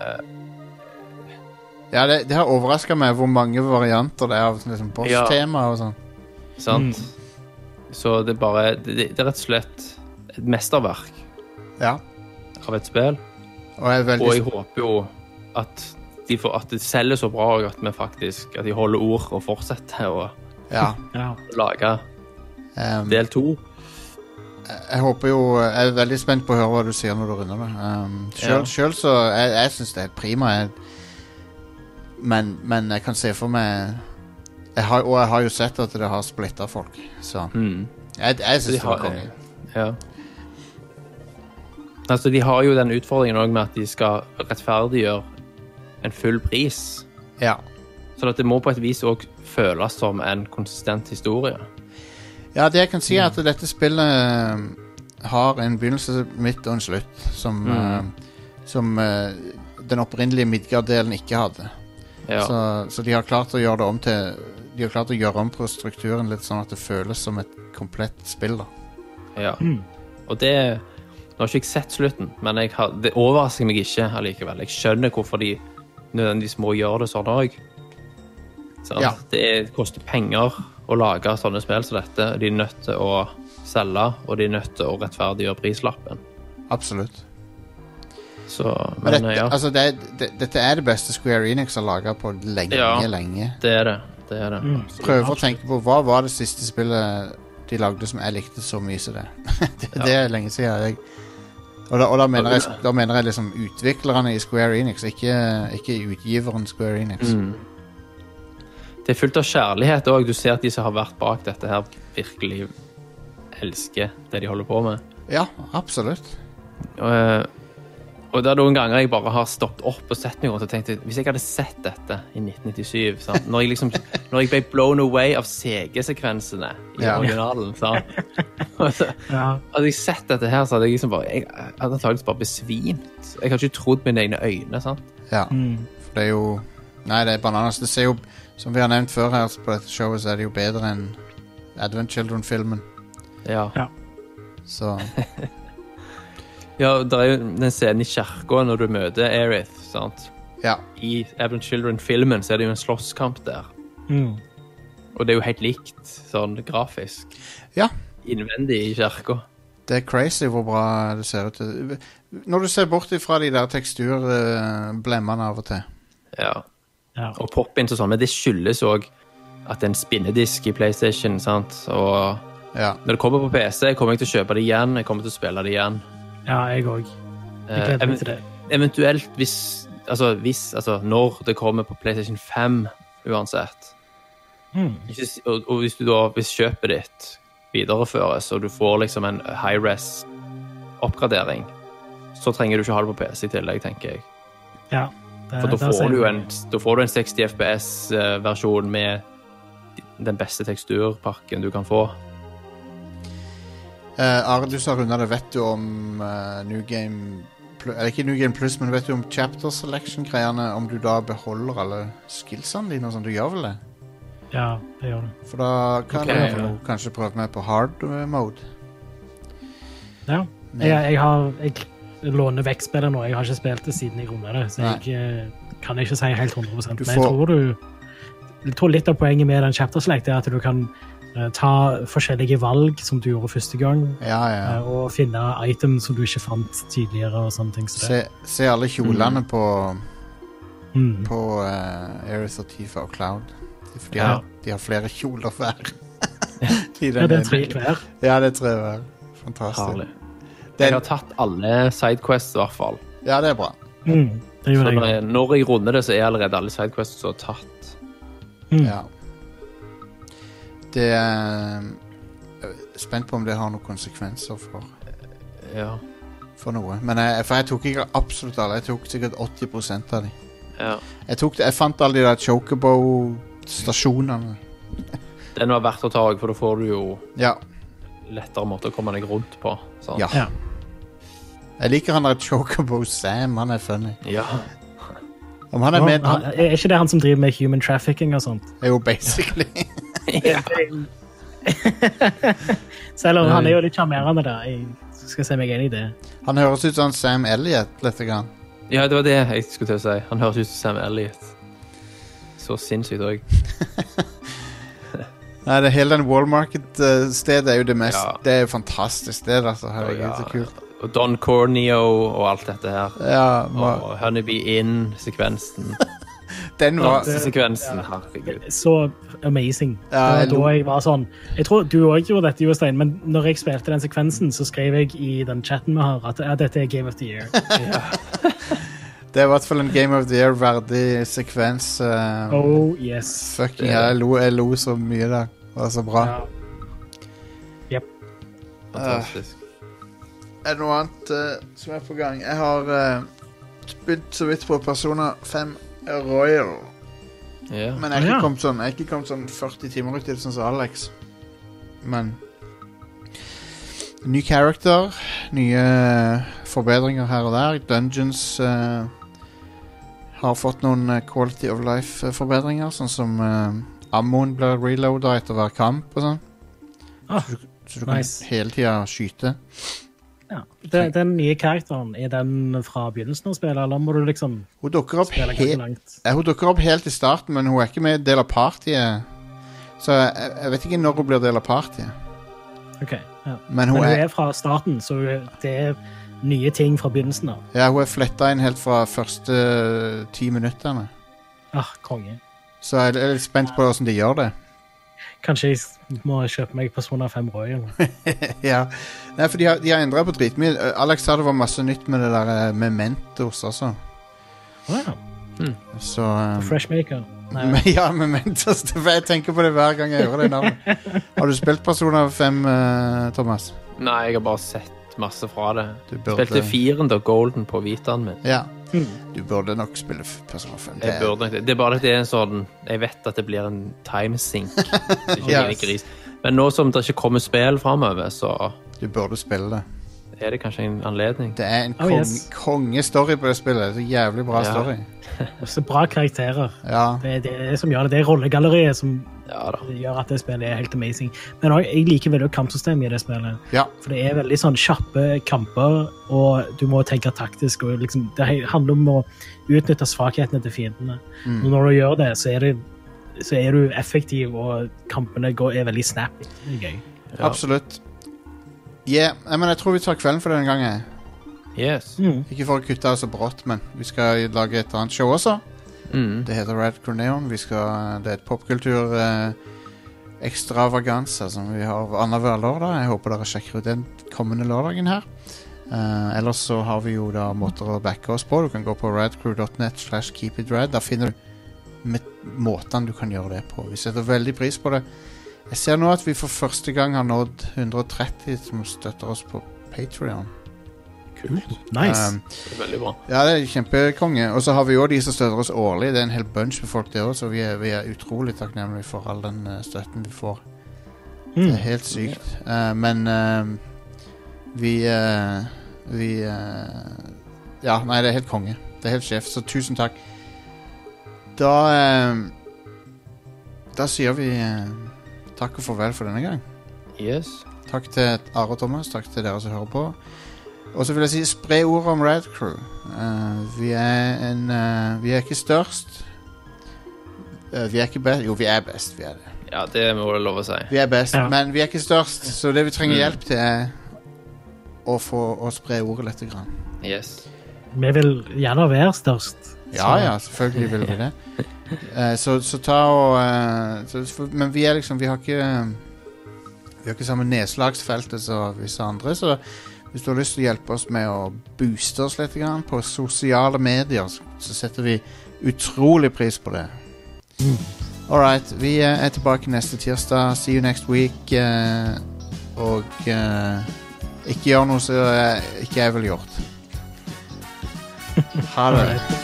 A: Ja, det, det har overraska meg hvor mange varianter det er av liksom, boss-tema og sånn.
C: Sant?
A: Mm.
C: Så det er bare det, det er rett og slett et mesterverk
A: Ja.
C: av et spill.
A: Og jeg er veldig
C: Og jeg håper jo at de får, at det selger så bra, og at vi faktisk at de holder ord og fortsetter å
A: Ja.
B: Ja.
C: lage
A: ehm,
C: del to.
A: jeg håper jo Jeg er veldig spent på å høre hva du sier når du runder det. Um,
C: Ja.
A: Sjøl sjøl så Jeg, jeg syns det er helt prima. Jeg, men, men jeg kan se for meg jeg har, Og jeg har jo sett at det har splitta folk, så
C: Mm.
A: Jeg, jeg
C: De
A: syns det
C: har,
A: var konge.
C: ja. Altså, de har jo den utfordringen òg med at de skal rettferdiggjøre en full pris.
A: Ja.
C: Så at det må på et vis òg føles som en konsistent historie.
A: Ja, det jeg kan si er
C: Mm.
A: at dette spillet eh, har en begynnelse, midt og en slutt, som,
C: Mm.
A: eh, som eh, den opprinnelige Midgard-delen ikke hadde.
C: Ja.
A: Så, så de har klart å gjøre det om til De har klart å gjøre om på strukturen litt sånn at det føles som et komplett spill. da
C: ja. Og det Nå har ikke jeg sett slutten, men jeg har, det overrasker meg ikke allikevel. Jeg skjønner hvorfor de nødvendigvis må gjøre det sånn òg.
A: Ja.
C: Det er- koster penger å lage sånne spill som dette. De er nødt til å selge, og de er nødt til å rettferdiggjøre prislappen.
A: Absolutt.
C: Så,
A: Men
C: men eh,
A: dette,
C: ja,
A: altså det, det, dette er det beste Square Enix har laga på lenge,
C: Ja.
A: lenge.
C: det er det. det, er det.
A: Prøver å tenke på hva var det siste spillet de lagde som jeg likte så mye som det. *laughs* det, det er lenge siden. Jeg, og da, og da, mener jeg, da mener jeg liksom utviklerne i Square Enix, ikke, ikke utgiveren Square Enix.
C: Det er fullt av kjærlighet òg. Du ser at de som har vært bak dette, her virkelig elsker det de holder på med.
A: Ja, absolutt.
C: Og, eh, Og det er noen ganger jeg bare har stoppet opp og sett meg rundt og tenkt at hvis jeg hadde sett dette i 1997 sant? Når, jeg liksom, når jeg ble blown away av CG-sekvensene i
A: Ja.
C: originalen sant? Altså,
B: Ja.
C: Hadde jeg sett dette her, så hadde jeg liksom bare Jeg hadde antakeligvis bare besvimt. Jeg hadde ikke trodd mine egne øyne. sant?
A: Ja. For det er jo Nei, det er bananas. Det ser jo Som vi har nevnt før her på dette showet, så er det jo bedre enn Advent Children-filmen.
C: Ja.
B: Ja.
A: Så
C: ja det er jo den scenen i kirka når du møter Erith. sant?
A: ja.
C: I Evan Children-filmen så er det jo en slåsskamp der.
B: Mm.
C: Og det er jo helt likt sånn grafisk
A: Ja.
C: innvendig i kirka.
A: Det er crazy hvor bra det ser ut. Når du ser bort ifra de der teksturblemmene av og til.
C: Ja.
B: Ja.
C: Og pop-ins og sånn. Men det skyldes òg at det er en spinnedisk i PlayStation. sant? Og
A: Ja.
C: når det kommer på PC, kommer jeg til å kjøpe det igjen. Jeg kommer til å spille det igjen.
B: ja, jeg òg. Jeg
C: Eh,
B: gleder
C: even-
B: meg til det.
C: Eventuelt hvis Altså hvis Altså når det kommer på PlayStation 5, uansett.
B: Mm.
C: Hvis, og, og hvis du da Hvis kjøpet ditt videreføres, og du får liksom en high res-oppgradering, så trenger du ikke ha det på PC i tillegg, tenker jeg.
B: Ja. Det-
C: For da
B: der ser
C: får du
B: jeg-
C: en, da får du en 60 FPS-versjon eh, med den beste teksturpakken du kan få.
A: Eh, Are, du sa runda det. Vet du om eh, New Game Plu- Eller ikke New Game Plus, men vet du om Chapter Selection-greiene? Om du da beholder alle skillsene dine og sånn? Du gjør vel det?
B: Ja, det gjør du.
A: For da kan
C: Ok,
A: jeg
C: ja.
A: jo kanskje prøve meg på hard eh, mode.
B: Ja.
A: Men-
B: Jeg, jeg, har, jeg låner vekk spillet nå. Jeg har ikke spilt det siden jeg runda det, så
A: Nei.
B: jeg eh, kan ikke si helt
A: Du
B: 100 Men jeg
A: får-
B: tror du jeg tror litt av poenget med den chapter select er at du kan eh, ta forskjellige valg som du gjorde første gang,
A: Ja, ja.
B: eh, og finne item som du ikke fant tidligere. og sånne ting. Så det,
A: Se, se alle kjolene på,
B: mm.
A: på eh, Aerith og Tifa og Cloud. De, de,
B: Ja.
A: har, de har flere kjoler
B: *laughs*
A: hver. I den
B: Ja, det
A: ene.
B: er tre hver.
A: Ja, det er tre hver. Fantastisk.
C: Herlig. Jeg
A: Den,
C: har tatt alle sidequests, i hvert fall.
A: ja, det er bra.
B: Mm. Det
C: Så
B: gjorde
C: når
B: jeg.
C: jeg, når jeg runder det, så er allerede alle sidequests tatt.
B: Mm.
A: Ja. Det er jeg er Spent på om det har noen konsekvenser for,
C: Ja.
A: for noe. Men jeg, for jeg tok ikke absolutt alle. Jeg tok sikkert 80 av de.
C: ja.
A: Jeg, tok, jeg fant alle de der Chocobo-stasjonene.
C: Den var verdt å ta òg, for da får du jo
A: Ja.
C: lettere måte å komme deg rundt på. sant?
A: ja.
B: Ja.
A: Jeg liker han der Chocobo Sam. Han er funny.
C: Ja.
A: Om han er
B: Nå,
A: med
B: han-
A: han,
B: er ikke det han som driver med human trafficking og sånt?
A: er jo basically *laughs*
C: Ja.
B: *laughs* Selv om
C: Nei.
B: han er jo litt sjarmerende, da. Jeg skal se meg enig i det.
A: Han høres ut som Sam Elliot lite grann.
C: ja, det var det jeg skulle til å si. Han høres ut som Sam Elliot. Så sinnssykt òg.
A: Nei, det hele den Wallmarket-stedet er jo det mest
C: Ja.
A: Det er jo fantastisk sted, altså. Herregud,
C: Ja,
A: så kult.
C: Og Don Corneo og alt dette her.
A: Ja, ma-
C: Og Honeybee Inn-sekvensen.
A: den var
C: Dansesekvensen. Herregud.
B: så amazing.
A: Ja, jeg
B: Det var
A: lo.
B: da jeg var sånn Jeg tror du òg gjorde dette, Jostein, men når jeg spilte den sekvensen, så skrev jeg i den chatten vi har, at ja, dette er Game of the
A: *laughs*
B: Year.
A: Det er i hvert fall en Game of the Year-verdig sekvens. eh,
B: Oh yes.
A: Fucking hell, jeg lo, jeg lo så mye der. Det var så bra.
B: Ja. Jep.
C: Eh. Fantastisk.
A: Er det noe annet eh, som er på gang? Jeg har eh, begynt så vidt på Persona 5 Royal.
C: Ja.
A: Men jeg har ikke,
B: Ja.
A: kommet, sånn, jeg har ikke kommet sånn 40 timer ut i det, sånn som Alex. Men Ny character, nye forbedringer her og der. Dungeons eh, har fått noen eh, quality of life-forbedringer, sånn som eh, ammoen blir reloada etter hver kamp og sånn.
B: Ah,
A: så du, så du kan
B: nice.
A: hele tida skyte.
B: Ja. Den, den nye karakteren, er den fra begynnelsen av spillet, eller må du liksom
A: Hun dukker opp
B: spille
A: he-
B: ganske langt?
A: Ja, hun dukker opp helt i starten, men hun er ikke med i del av partiet. Så jeg, jeg vet ikke når hun blir del av partiet.
B: OK. Ja.
A: Men
B: Men
A: hun,
B: hun
A: er,
B: er fra starten, så det er nye ting fra begynnelsen av.
A: ja, hun er fletta inn helt fra første eh, ti minuttene.
B: Ah, konge.
A: Så jeg er litt spent på åssen de gjør
C: *laughs*
A: det.
B: Kanskje jeg må kjøpe meg Persona 5 Royal.
A: ja. Nei, for de har, de har endra på dritmye. Eh, Alex sa det var masse nytt med det der eh, med Mentos også.
B: Wow.
A: Så eh,
B: Freshmaker. Nei,
A: men, *laughs* Ja, med Mentos. Det- Jeg tenker på det hver
B: *laughs*
A: gang jeg hører det navnet. Har du spilt Persona 5, eh, Thomas?
C: Nei, jeg har bare sett spilt masse fra det.
A: Du burde-
C: Spilte firen da, Golden, på Vitaen min.
A: Ja.
B: Hmm.
A: Du burde nok spille f- Persona 5. Det,
C: Jeg burde nok det. Det er bare at det er en sånn Jeg vet at det blir en timesink. Det er ikke
A: Ja.
C: mine gris. Men nå som det ikke kommer spill framover, så
A: du burde spille det.
C: er det kanskje en anledning.
A: Det er en
B: Oh,
A: kong,
B: yes.
A: kongestory på det spillet. Så jævlig bra
C: Ja.
A: story.
B: Så bra karakterer.
A: Ja.
B: Det er det som gjør det. Det er rollegalleriet som
C: Ja da.
B: gjør at det spillet er helt amazing. Men også, jeg liker veldig godt kampsystemet i det spillet.
A: ja.
B: For det er veldig sånn kjappe kamper, og du må tenke taktisk. og liksom, Det he- handler om å utnytte svakhetene til fiendene.
A: Mm.
B: Og når du gjør det, så er, det, så er du effektiv, og kampene går, er veldig snappy. Det er gøy.
C: Ja.
A: Absolutt. Yeah. Nei, men jeg tror vi tar kvelden for denne gangen.
C: Yes.
A: Ikke for å kutte av så brått, men vi skal lage et annet show også.
C: Mm.
A: Det heter Rad Corneon. Vi skal, det er et popkultur eh, ekstravaganse som vi har annenhver lørdag. Jeg håper dere sjekker ut den kommende lørdagen her. Eh, ellers så har vi jo da måter å backe oss på. Du kan gå på radcrew.net slash keepitrad. Der finner du met- måtene du kan gjøre det på. Vi setter veldig pris på det. Jeg ser nå at vi for første gang har nådd 130 som støtter oss på Eh, Patrion.
C: Kult.
B: Nice.
A: Um,
C: Det er veldig bra.
A: Ja, det er kjempekonge. Og så har vi jo de som støtter oss årlig. Det er en hel bunch med folk der òg, så vi er, vi er utrolig takknemlige for all den eh, støtten vi får. Det
B: Mm.
A: er helt sykt. Eh, men eh, vi eh, Vi eh, Ja, nei, det er helt konge. Det er helt sjef, så tusen takk. Da eh, Da sier vi eh, takk og farvel for denne gang.
C: Yes.
A: Takk til Are og Thomas, takk til dere som hører på. Og så vil jeg si, spre ordet om Rad Crew. Eh, vi er en eh, Vi er ikke størst. Eh, vi er ikke best Jo, vi er best, vi er det.
C: Ja, det må det lov å si.
A: Vi er best,
B: Ja.
A: men vi er ikke størst, så det vi trenger
C: Mm.
A: hjelp til, er å få å spre ordet litt. Grann.
C: Yes.
B: Vi vil gjerne være størst.
A: Ja,
B: Så-
A: ja, selvfølgelig vil vi det. Eh, så, så ta og eh, så, for, Men vi er liksom Vi har ikke eh, Vi har ikke samme nedslagsfeltet som visse andre, så hvis du har lyst til å hjelpe oss med å booste oss litt grann på sosiale medier, så, så setter vi utrolig pris på det. All right. Vi eh, er tilbake neste tirsdag. See you next week. eh, og eh, ikke gjør noe som eh, ikke jeg ville gjort. Ha det.